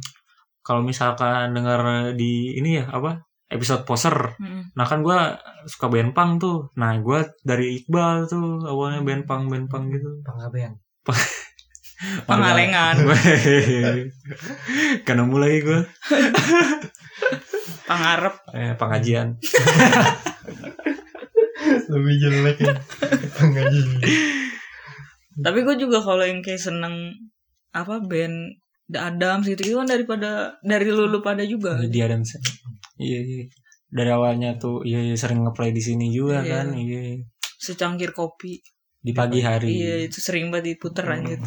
[SPEAKER 1] Kalau misalkan denger di ini ya apa episode poser,
[SPEAKER 3] Mm.
[SPEAKER 1] nah kan gua suka band punk tuh. Nah gua dari Iqbal tuh awalnya
[SPEAKER 3] Hmm.
[SPEAKER 1] band punk band punk gitu.
[SPEAKER 4] Pangabean.
[SPEAKER 3] Pangalengan,
[SPEAKER 1] Karena mulai gua
[SPEAKER 3] Pangarep.
[SPEAKER 1] eh, pengajian.
[SPEAKER 4] Lebih jelek ya. Pengajian.
[SPEAKER 3] Tapi gue juga kalau yang kayak seneng apa band The Adams gitu, gitu kan daripada dari lulu pada juga.
[SPEAKER 1] Jadi ada misalnya. Iya iya. Dari awalnya tuh iya, iya sering ngeplay di sini juga
[SPEAKER 3] Iya.
[SPEAKER 1] kan. Iya. iya.
[SPEAKER 3] Secangkir kopi.
[SPEAKER 1] Di pagi hari.
[SPEAKER 3] Iya gitu. itu sering banget diputer
[SPEAKER 1] Iya.
[SPEAKER 3] anjir.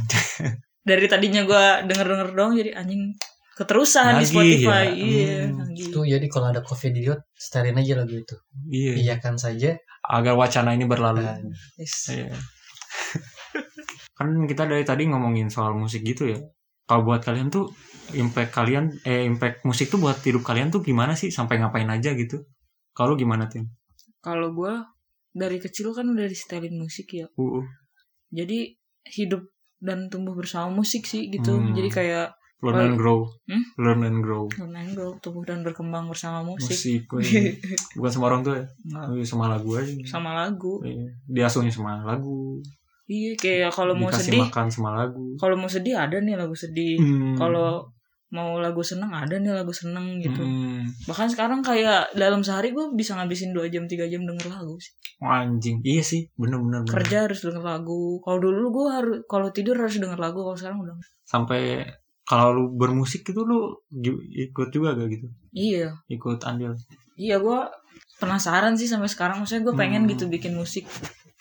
[SPEAKER 3] Dari tadinya gue denger-denger doang jadi anjing keterusan di
[SPEAKER 1] Nagih,
[SPEAKER 3] Spotify.
[SPEAKER 1] ya.
[SPEAKER 3] Iya.
[SPEAKER 1] Hmm.
[SPEAKER 3] nagih.
[SPEAKER 4] Itu jadi kalau ada coffee diot, setelin aja lagu itu.
[SPEAKER 1] Iya.
[SPEAKER 4] Iyakan saja.
[SPEAKER 1] Agar wacana ini berlalu.
[SPEAKER 4] Dan
[SPEAKER 3] Yes.
[SPEAKER 1] Iya. kan kita dari tadi ngomongin soal musik gitu ya. Kalau buat kalian tuh impact kalian eh impact musik tuh buat hidup kalian tuh gimana sih sampai ngapain aja gitu? Kalau gimana tim?
[SPEAKER 3] kalau gue dari kecil kan udah disetelin musik ya
[SPEAKER 1] Uh, uh,
[SPEAKER 3] jadi hidup dan tumbuh bersama musik sih gitu
[SPEAKER 1] Hmm.
[SPEAKER 3] jadi kayak
[SPEAKER 1] learn and grow.
[SPEAKER 3] Hmm?
[SPEAKER 1] Learn and grow.
[SPEAKER 3] lumayan gue tumbuh dan berkembang bersama musik,
[SPEAKER 1] Musik. woy. Bukan sama orang tua ya.
[SPEAKER 3] Nggak,
[SPEAKER 1] Sama lagu aja.
[SPEAKER 3] sama lagu
[SPEAKER 1] Iya. Diasuhnya sama lagu.
[SPEAKER 3] Iya kayak kalau mau
[SPEAKER 1] dikasih
[SPEAKER 3] sedih,
[SPEAKER 1] makan sama lagu
[SPEAKER 3] kalau mau sedih ada nih lagu sedih.
[SPEAKER 1] Hmm.
[SPEAKER 3] Kalau mau lagu seneng ada nih lagu seneng gitu.
[SPEAKER 1] Hmm.
[SPEAKER 3] Bahkan sekarang kayak dalam sehari gue bisa ngabisin 2 jam 3 jam denger lagu sih.
[SPEAKER 1] Oh, anjing iya sih bener-bener bener.
[SPEAKER 3] Kerja harus denger lagu. Kalau dulu gue harus kalau tidur harus denger lagu, kalau sekarang udah
[SPEAKER 1] sampai kalau lu bermusik itu lu ju- ikut juga gak gitu
[SPEAKER 3] Iya.
[SPEAKER 1] ikut andil
[SPEAKER 3] Iya gue penasaran sih sampai sekarang maksudnya gue pengen
[SPEAKER 1] Hmm.
[SPEAKER 3] gitu bikin musik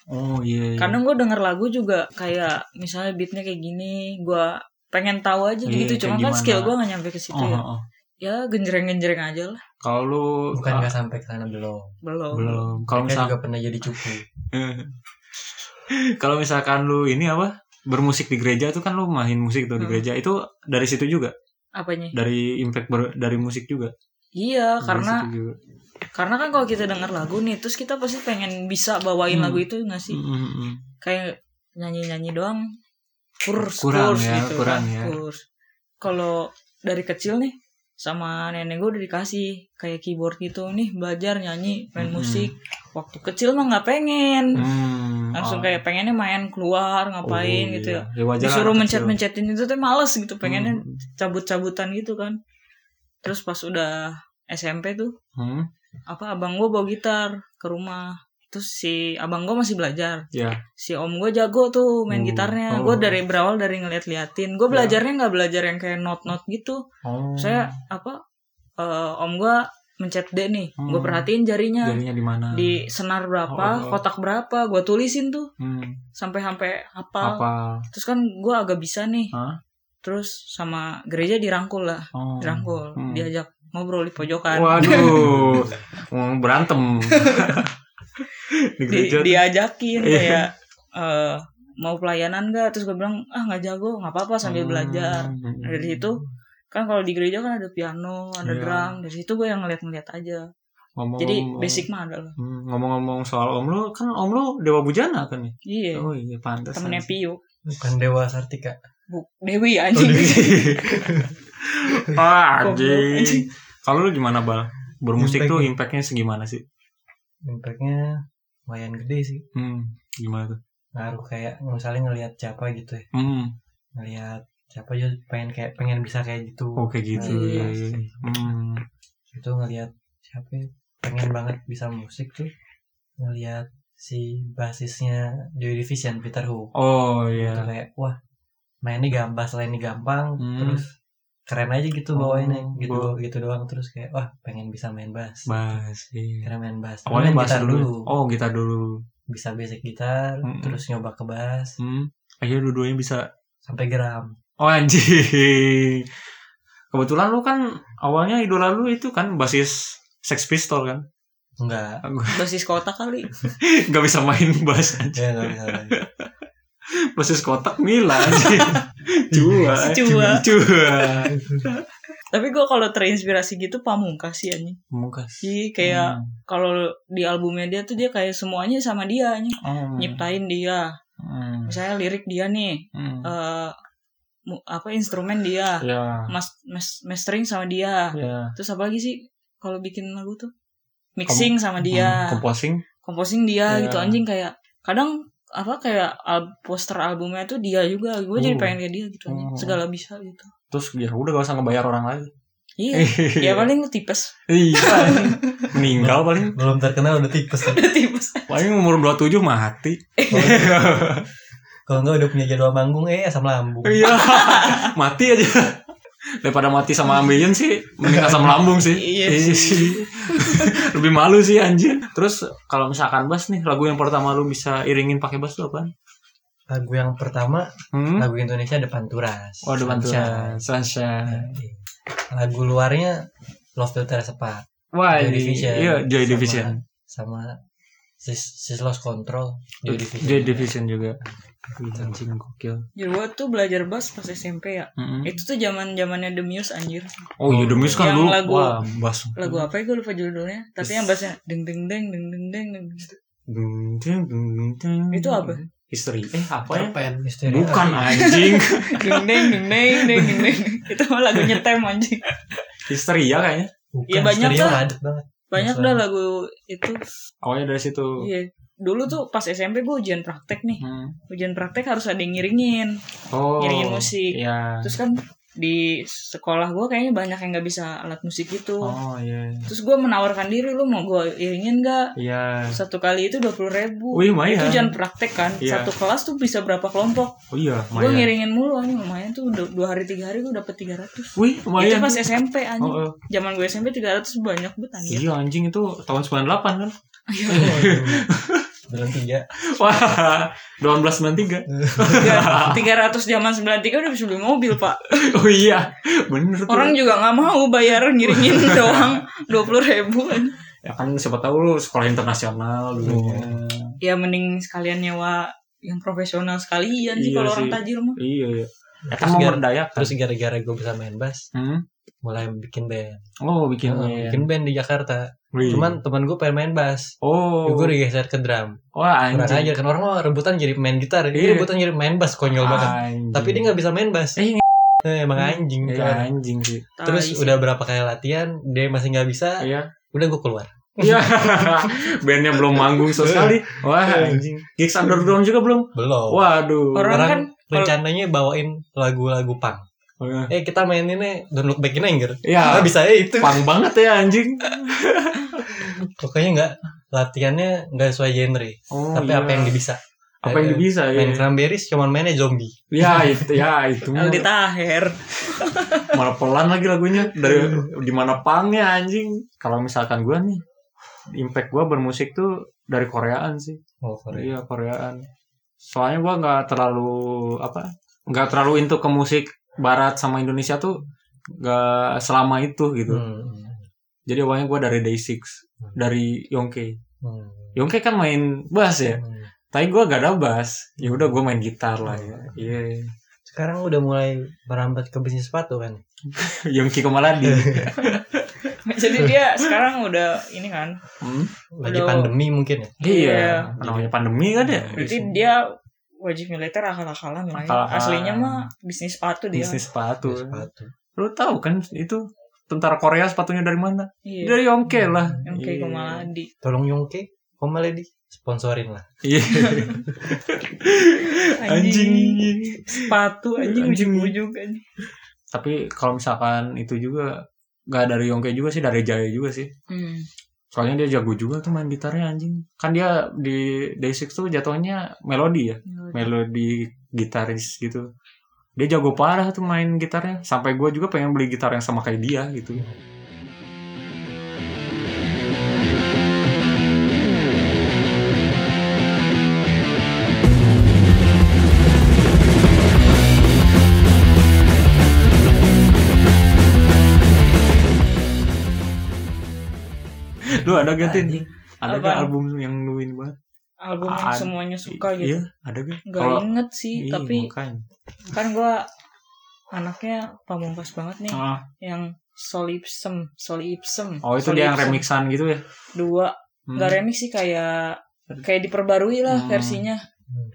[SPEAKER 1] oh iya, iya.
[SPEAKER 3] kadang gue denger lagu juga kayak misalnya beatnya kayak gini gue pengen tahu aja
[SPEAKER 1] Iya,
[SPEAKER 3] gitu
[SPEAKER 1] kayak
[SPEAKER 3] cuma kan
[SPEAKER 1] gimana.
[SPEAKER 3] skill gue gak nyampe ke situ
[SPEAKER 1] Oh,
[SPEAKER 3] ya
[SPEAKER 1] oh, oh.
[SPEAKER 3] ya genjreng-genjreng aja lah
[SPEAKER 1] kalau lu
[SPEAKER 4] bukan
[SPEAKER 1] ah,
[SPEAKER 4] nggak sampai ke sana belum
[SPEAKER 3] belum
[SPEAKER 1] belum kalau
[SPEAKER 4] saya
[SPEAKER 1] misalkan
[SPEAKER 4] juga pernah jadi cupu
[SPEAKER 1] kalau misalkan lu ini apa bermusik di gereja itu kan lu main musik tuh di
[SPEAKER 3] Hmm.
[SPEAKER 1] gereja itu dari situ juga
[SPEAKER 3] apanya
[SPEAKER 1] dari impact ber- dari musik juga
[SPEAKER 3] iya
[SPEAKER 1] Dari
[SPEAKER 3] karena
[SPEAKER 1] situ juga.
[SPEAKER 3] karena kan kalau kita denger lagu nih terus kita pasti pengen bisa bawain
[SPEAKER 1] Hmm.
[SPEAKER 3] lagu itu nggak sih
[SPEAKER 1] Mm, mm, mm.
[SPEAKER 3] kayak nyanyi-nyanyi doang kurs
[SPEAKER 1] Kurang
[SPEAKER 3] kurs
[SPEAKER 1] ya,
[SPEAKER 3] gitu
[SPEAKER 1] kurang
[SPEAKER 3] kan,
[SPEAKER 1] ya.
[SPEAKER 3] kurs kalau dari kecil nih sama nenek gue udah dikasih kayak keyboard gitu nih belajar nyanyi main
[SPEAKER 1] Mm-mm.
[SPEAKER 3] musik waktu kecil mah nggak pengen
[SPEAKER 1] Hmm, oh.
[SPEAKER 3] langsung kayak pengennya main keluar ngapain
[SPEAKER 1] Oh,
[SPEAKER 3] gitu
[SPEAKER 1] iya. ya
[SPEAKER 3] ya
[SPEAKER 1] wajar lah,
[SPEAKER 3] disuruh
[SPEAKER 1] kecil.
[SPEAKER 3] mencet-mencetin itu tuh males gitu pengennya
[SPEAKER 1] Hmm,
[SPEAKER 3] cabut-cabutan gitu kan terus pas udah SMP tuh
[SPEAKER 1] hmm,
[SPEAKER 3] apa abang gue bawa gitar ke rumah terus si abang gue masih belajar
[SPEAKER 1] ya
[SPEAKER 3] si om gue jago tuh main
[SPEAKER 1] Oh.
[SPEAKER 3] gitarnya
[SPEAKER 1] Oh. Iya.
[SPEAKER 3] gue dari berawal dari ngeliat-liatin gue belajarnya nggak belajar yang kayak not-not gitu
[SPEAKER 1] oh
[SPEAKER 3] saya apa eh, om gue mencet D nih
[SPEAKER 1] Hmm.
[SPEAKER 3] gue perhatiin jarinya
[SPEAKER 1] jarinya di mana
[SPEAKER 3] di senar berapa
[SPEAKER 1] Oh, oh, oh.
[SPEAKER 3] kotak berapa gue tulisin tuh
[SPEAKER 1] Hmm,
[SPEAKER 3] sampai sampai hafal
[SPEAKER 1] apa
[SPEAKER 3] terus kan gue agak bisa nih
[SPEAKER 1] Hah?
[SPEAKER 3] terus sama gereja dirangkul lah
[SPEAKER 1] oh.
[SPEAKER 3] dirangkul
[SPEAKER 1] Hmm.
[SPEAKER 3] diajak ngobrol di pojokan
[SPEAKER 1] waduh mau berantem di
[SPEAKER 3] di,
[SPEAKER 1] gereja
[SPEAKER 3] diajakin
[SPEAKER 1] Iya.
[SPEAKER 3] kayak eh, mau pelayanan gak terus gue bilang ah nggak jago nggak apa-apa sambil
[SPEAKER 1] Hmm.
[SPEAKER 3] belajar Nah, dari situ kan kalau di gereja kan ada piano, ada
[SPEAKER 1] Iya. Oh.
[SPEAKER 3] drum. Dari situ gue yang ngeliat-ngeliat aja. Jadi basic mah ada lah.
[SPEAKER 1] Hmm, ngomong-ngomong soal om lu kan om lu dewa bujana kan ya
[SPEAKER 3] Iya.
[SPEAKER 1] oh iya pantas
[SPEAKER 3] Temennya Pio.
[SPEAKER 4] bukan dewa sartika
[SPEAKER 3] Bu, Dewi
[SPEAKER 1] Oh,
[SPEAKER 3] anjing.
[SPEAKER 1] ah
[SPEAKER 3] Goblok, anjing.
[SPEAKER 1] anjing kalau lu gimana bal bermusik
[SPEAKER 4] Impact.
[SPEAKER 1] tuh impactnya segimana sih
[SPEAKER 4] impactnya lumayan gede sih
[SPEAKER 1] hmm gimana tuh
[SPEAKER 4] ngaruh kayak misalnya ngelihat siapa gitu ya
[SPEAKER 1] hmm
[SPEAKER 4] ngelihat siapa aja pengen kayak pengen bisa kayak gitu Nah,
[SPEAKER 1] oke gitu
[SPEAKER 3] Iya.
[SPEAKER 1] iya, iya. hmm
[SPEAKER 4] itu ngelihat siapa ya, pengen banget bisa musik tuh ngelihat si basisnya Joy Division Peter Hu
[SPEAKER 1] oh
[SPEAKER 4] Itu
[SPEAKER 1] iya
[SPEAKER 4] kayak wah mainnya gampang selain gampang
[SPEAKER 1] Hmm.
[SPEAKER 4] terus keren aja gitu
[SPEAKER 1] Oh,
[SPEAKER 4] bawainnya gitu
[SPEAKER 1] gua-
[SPEAKER 4] gitu doang terus kayak wah pengen bisa main bass
[SPEAKER 1] bass iya.
[SPEAKER 4] keren main bass
[SPEAKER 1] awalnya
[SPEAKER 4] Main
[SPEAKER 1] bass
[SPEAKER 4] gitar
[SPEAKER 1] dulu. oh gitar dulu
[SPEAKER 4] bisa basic gitar
[SPEAKER 1] Mm-mm.
[SPEAKER 4] terus nyoba ke bass
[SPEAKER 1] hmm akhirnya dua-duanya bisa
[SPEAKER 4] sampai geram
[SPEAKER 1] Oh anjing. Kebetulan lu kan awalnya idola lu itu kan basis Sex Pistol kan.
[SPEAKER 4] enggak
[SPEAKER 3] Basis kotak kali.
[SPEAKER 1] Gak bisa main bass anjing.
[SPEAKER 4] ya enggak bisa
[SPEAKER 1] Basis kotak Mila anjing. Cua.
[SPEAKER 3] Cua.
[SPEAKER 1] Cua.
[SPEAKER 3] Tapi gue kalau terinspirasi gitu pamungkas sih anjing.
[SPEAKER 1] Mungkas.
[SPEAKER 3] Iya kayak kalau di albumnya dia tuh dia kayak semuanya sama dia anjing.
[SPEAKER 1] Hmm.
[SPEAKER 3] Nyiptain dia.
[SPEAKER 1] Hmm.
[SPEAKER 3] Misalnya lirik dia nih.
[SPEAKER 1] Hmm.
[SPEAKER 3] eh, mu- apa instrumen dia.
[SPEAKER 1] Ya.
[SPEAKER 3] Mas, mas- mastering sama dia.
[SPEAKER 1] Ya.
[SPEAKER 3] Terus apa lagi sih kalau bikin lagu tuh? Mixing sama dia.
[SPEAKER 1] Hmm. Composing.
[SPEAKER 3] komposing dia
[SPEAKER 1] Iya.
[SPEAKER 3] gitu anjing kayak kadang apa kayak al- poster albumnya tuh dia juga gue jadi
[SPEAKER 1] Uh.
[SPEAKER 3] pengen kayak dia gitu anjing
[SPEAKER 1] Oh.
[SPEAKER 3] segala bisa gitu
[SPEAKER 1] Terus ya udah gak usah ngebayar orang lagi.
[SPEAKER 3] iya ya paling lu tipes
[SPEAKER 1] Iya. anjing. Meninggal paling.
[SPEAKER 4] belum terkenal udah tipes
[SPEAKER 3] Udah tipes
[SPEAKER 1] Paling umur 27 mati.
[SPEAKER 4] kalau enggak udah punya jadwal manggung eh asam lambung
[SPEAKER 1] Iya. mati aja. Daripada mati sama ambeien sih, mending asam lambung sih.
[SPEAKER 3] Iya
[SPEAKER 1] sih. Lebih malu sih anjir. Terus kalau misalkan bass nih, lagu yang pertama lu bisa iringin pakai bass tuh apaan?
[SPEAKER 4] lagu yang pertama
[SPEAKER 1] Hmm?
[SPEAKER 4] lagu Indonesia depan turas
[SPEAKER 1] Oh, depan tuh.
[SPEAKER 4] Sunshine.
[SPEAKER 1] Sunshine.
[SPEAKER 4] lagu luarnya Love Will Tear Apart
[SPEAKER 1] Wah, ini-
[SPEAKER 4] Joy Division.
[SPEAKER 1] Iya, Joy
[SPEAKER 4] Sama
[SPEAKER 1] Division.
[SPEAKER 4] sama Sis, Sis Lost Control Joy Division. Gitu,
[SPEAKER 1] Joy Division juga. Ih, Anjing gokil.
[SPEAKER 3] jadi gue tuh belajar bass pas SMP ya
[SPEAKER 1] Mm-mm.
[SPEAKER 3] itu tuh zaman zamannya The Muse anjir
[SPEAKER 1] Oh, iya The Muse kan
[SPEAKER 3] Yang
[SPEAKER 1] dulu.
[SPEAKER 3] lagu-
[SPEAKER 1] Wah, bass.
[SPEAKER 3] lagu apa ya gue lupa judulnya tapi yang bassnya deng deng deng deng deng deng deng
[SPEAKER 1] Dung, dung, dung, dung, dung.
[SPEAKER 3] Itu apa?
[SPEAKER 1] History. Eh, apa ya?
[SPEAKER 2] Cerpen.
[SPEAKER 4] Misteri
[SPEAKER 1] Bukan ah. anjing.
[SPEAKER 3] deng deng deng deng deng deng deng itu mah lagu nyetem anjing
[SPEAKER 1] Histeria kayaknya.
[SPEAKER 4] Bukan,
[SPEAKER 1] Iya,
[SPEAKER 3] Ya, banyak
[SPEAKER 4] misteri
[SPEAKER 3] lah.
[SPEAKER 4] yang padat banget
[SPEAKER 3] banyak
[SPEAKER 4] Masa.
[SPEAKER 3] dah lagu itu
[SPEAKER 1] Awalnya dari situ.
[SPEAKER 3] iya dulu tuh pas SMP gue ujian praktek nih
[SPEAKER 1] Hmm.
[SPEAKER 3] ujian praktek harus ada yang ngiringin
[SPEAKER 1] Oh.
[SPEAKER 3] ngiringin musik
[SPEAKER 1] Iya.
[SPEAKER 3] terus kan di sekolah gue kayaknya banyak yang nggak bisa alat musik gitu
[SPEAKER 1] Oh iya.
[SPEAKER 3] terus gue menawarkan diri lu mau gue iringin nggak
[SPEAKER 1] Iya.
[SPEAKER 3] satu kali itu dua puluh ribu
[SPEAKER 1] Wih, lumayan.
[SPEAKER 3] itu jangan praktek kan
[SPEAKER 1] Oh, Iya.
[SPEAKER 3] satu kelas tuh bisa berapa kelompok
[SPEAKER 1] Oh iya,
[SPEAKER 3] gue
[SPEAKER 1] lumayan.
[SPEAKER 3] ngiringin mulu anjing lumayan tuh dua, dua hari tiga hari gue dapet tiga ratus
[SPEAKER 1] Wih,
[SPEAKER 3] itu
[SPEAKER 1] lumayan.
[SPEAKER 3] pas SMP anjing
[SPEAKER 1] Oh, oh.
[SPEAKER 3] zaman gue SMP 300 banyak banget anjing
[SPEAKER 1] Iya anjing itu tahun 98 kan.
[SPEAKER 4] Bulan tiga.
[SPEAKER 1] Wah, 1893. Iya.
[SPEAKER 3] Tiga- 300 zaman 93 udah bisa beli mobil pak
[SPEAKER 1] Oh iya, bener tuh.
[SPEAKER 3] orang juga nggak mau bayar ngiringin doang 20 ribu
[SPEAKER 1] Ya kan siapa tahu lu sekolah internasional dulu.
[SPEAKER 3] ya mending sekalian nyewa yang profesional sekalian sih
[SPEAKER 1] Iya
[SPEAKER 3] kalau orang
[SPEAKER 1] sih.
[SPEAKER 3] tajir mah
[SPEAKER 1] Iya, iya. Ya kan
[SPEAKER 4] Terus
[SPEAKER 1] mau
[SPEAKER 4] gara-
[SPEAKER 1] merdayakan.
[SPEAKER 4] Terus gara-gara gue bisa main bass,
[SPEAKER 1] Hmm?
[SPEAKER 4] mulai bikin band.
[SPEAKER 1] Oh, bikin
[SPEAKER 4] Nah,
[SPEAKER 1] band.
[SPEAKER 4] Bikin band di Jakarta.
[SPEAKER 1] Wih.
[SPEAKER 4] Cuman teman gue pengen main bass.
[SPEAKER 1] Iya. oh.
[SPEAKER 4] Gue digeser ke drum.
[SPEAKER 1] Wah,
[SPEAKER 4] Kurang
[SPEAKER 1] anjing.
[SPEAKER 4] aja kan orang mah rebutan jadi main gitar, dia
[SPEAKER 1] Iya.
[SPEAKER 4] rebutan jadi main bass konyol banget.
[SPEAKER 1] Anjing.
[SPEAKER 4] Tapi dia nggak bisa main bass.
[SPEAKER 1] Eh,
[SPEAKER 4] Eh, emang anjing.
[SPEAKER 1] Iya,
[SPEAKER 4] kan.
[SPEAKER 1] anjing sih.
[SPEAKER 3] Tai
[SPEAKER 4] Terus
[SPEAKER 3] sih.
[SPEAKER 4] udah berapa kali latihan, dia masih nggak bisa.
[SPEAKER 1] Iya.
[SPEAKER 4] Udah gue keluar.
[SPEAKER 1] Iya. Bandnya belum manggung sama sekali. Wah, anjing. Gigs underground juga belum.
[SPEAKER 4] Belum.
[SPEAKER 1] Waduh.
[SPEAKER 3] orang,
[SPEAKER 4] orang-
[SPEAKER 3] kan
[SPEAKER 4] Rencananya bawain lagu-lagu punk. Eh kita maininnya Don't Look Back in Anger.
[SPEAKER 1] Ya,
[SPEAKER 4] Nggak bisa ya itu.
[SPEAKER 1] pang banget ya anjing.
[SPEAKER 4] Pokoknya nggak latihannya nggak sesuai genre.
[SPEAKER 1] Oh,
[SPEAKER 4] tapi apa yang bisa.
[SPEAKER 1] apa yang bisa ya?
[SPEAKER 4] Main cranberries cuman mainnya zombie.
[SPEAKER 1] Ya itu ya itu mah.
[SPEAKER 3] Aldi Taher
[SPEAKER 1] malah pelan lagi lagunya dari
[SPEAKER 4] Iya.
[SPEAKER 1] di mana pangnya anjing. Kalau misalkan gua nih impact gua bermusik tuh dari Koreaan sih.
[SPEAKER 4] Oh, sorry.
[SPEAKER 1] Iya Koreaan. Soalnya gua nggak terlalu apa? Nggak terlalu into ke musik Barat sama Indonesia tuh nggak selama itu gitu.
[SPEAKER 4] Hmm.
[SPEAKER 1] Jadi awalnya gua dari Day6 dari Yongke.
[SPEAKER 4] Hmm.
[SPEAKER 1] Yongke kan main bass ya.
[SPEAKER 4] Hmm.
[SPEAKER 1] Tapi gua gak ada bass. Ya udah gua main gitar lah ya. Iya.
[SPEAKER 4] Sekarang udah mulai merambat ke bisnis sepatu kan.
[SPEAKER 1] Yongki Komaladi.
[SPEAKER 3] jadi dia sekarang udah ini kan
[SPEAKER 1] Hmm?
[SPEAKER 4] Lagi
[SPEAKER 3] Udah.
[SPEAKER 4] pandemi mungkin ya.
[SPEAKER 1] Iya, namanya pandemi kan ya.
[SPEAKER 3] berarti dia wajib militer akal-akalan lah ya.
[SPEAKER 1] Akal-akalan.
[SPEAKER 3] aslinya mah bisnis sepatu dia
[SPEAKER 1] bisnis sepatu.
[SPEAKER 4] Bisnis sepatu.
[SPEAKER 1] Lu tahu kan itu tentara Korea sepatunya dari mana?
[SPEAKER 3] iya
[SPEAKER 1] Dari Yongke lah. Iya.
[SPEAKER 3] yang kayak Komaladi
[SPEAKER 4] Tolong Yongke, Komaledi sponsorin lah.
[SPEAKER 1] Iya. Anjing.
[SPEAKER 3] sepatu anjing
[SPEAKER 1] Anjing.
[SPEAKER 3] ujung-ujung kan
[SPEAKER 1] Tapi kalau misalkan itu juga nggak dari Yongke juga sih, dari Jaya juga sih.
[SPEAKER 3] hmm.
[SPEAKER 1] Soalnya dia jago juga tuh main gitarnya anjing. Kan dia di Day6 tuh jatuhnya melodi ya. melodi gitaris gitu dia jago parah tuh main gitarnya sampai gue juga pengen beli gitar yang sama kayak dia gitu lu ada gantiin ada gak
[SPEAKER 3] Apaan?
[SPEAKER 1] album yang luin banget
[SPEAKER 3] album yang
[SPEAKER 1] An-
[SPEAKER 3] semuanya suka
[SPEAKER 1] iya
[SPEAKER 3] gitu
[SPEAKER 1] ada gak
[SPEAKER 3] Gak
[SPEAKER 1] Kalau-
[SPEAKER 3] inget sih,
[SPEAKER 1] Iya,
[SPEAKER 3] tapi
[SPEAKER 1] makanya.
[SPEAKER 3] kan gua anaknya pamungkas banget nih,
[SPEAKER 1] Ah,
[SPEAKER 3] yang solipsem, solipsem.
[SPEAKER 1] oh itu dia yang
[SPEAKER 3] Solipsem.
[SPEAKER 1] remixan gitu ya
[SPEAKER 3] Dua,
[SPEAKER 1] Hmm.
[SPEAKER 3] nggak remix sih kayak kayak diperbarui lah
[SPEAKER 1] Hmm.
[SPEAKER 3] versinya.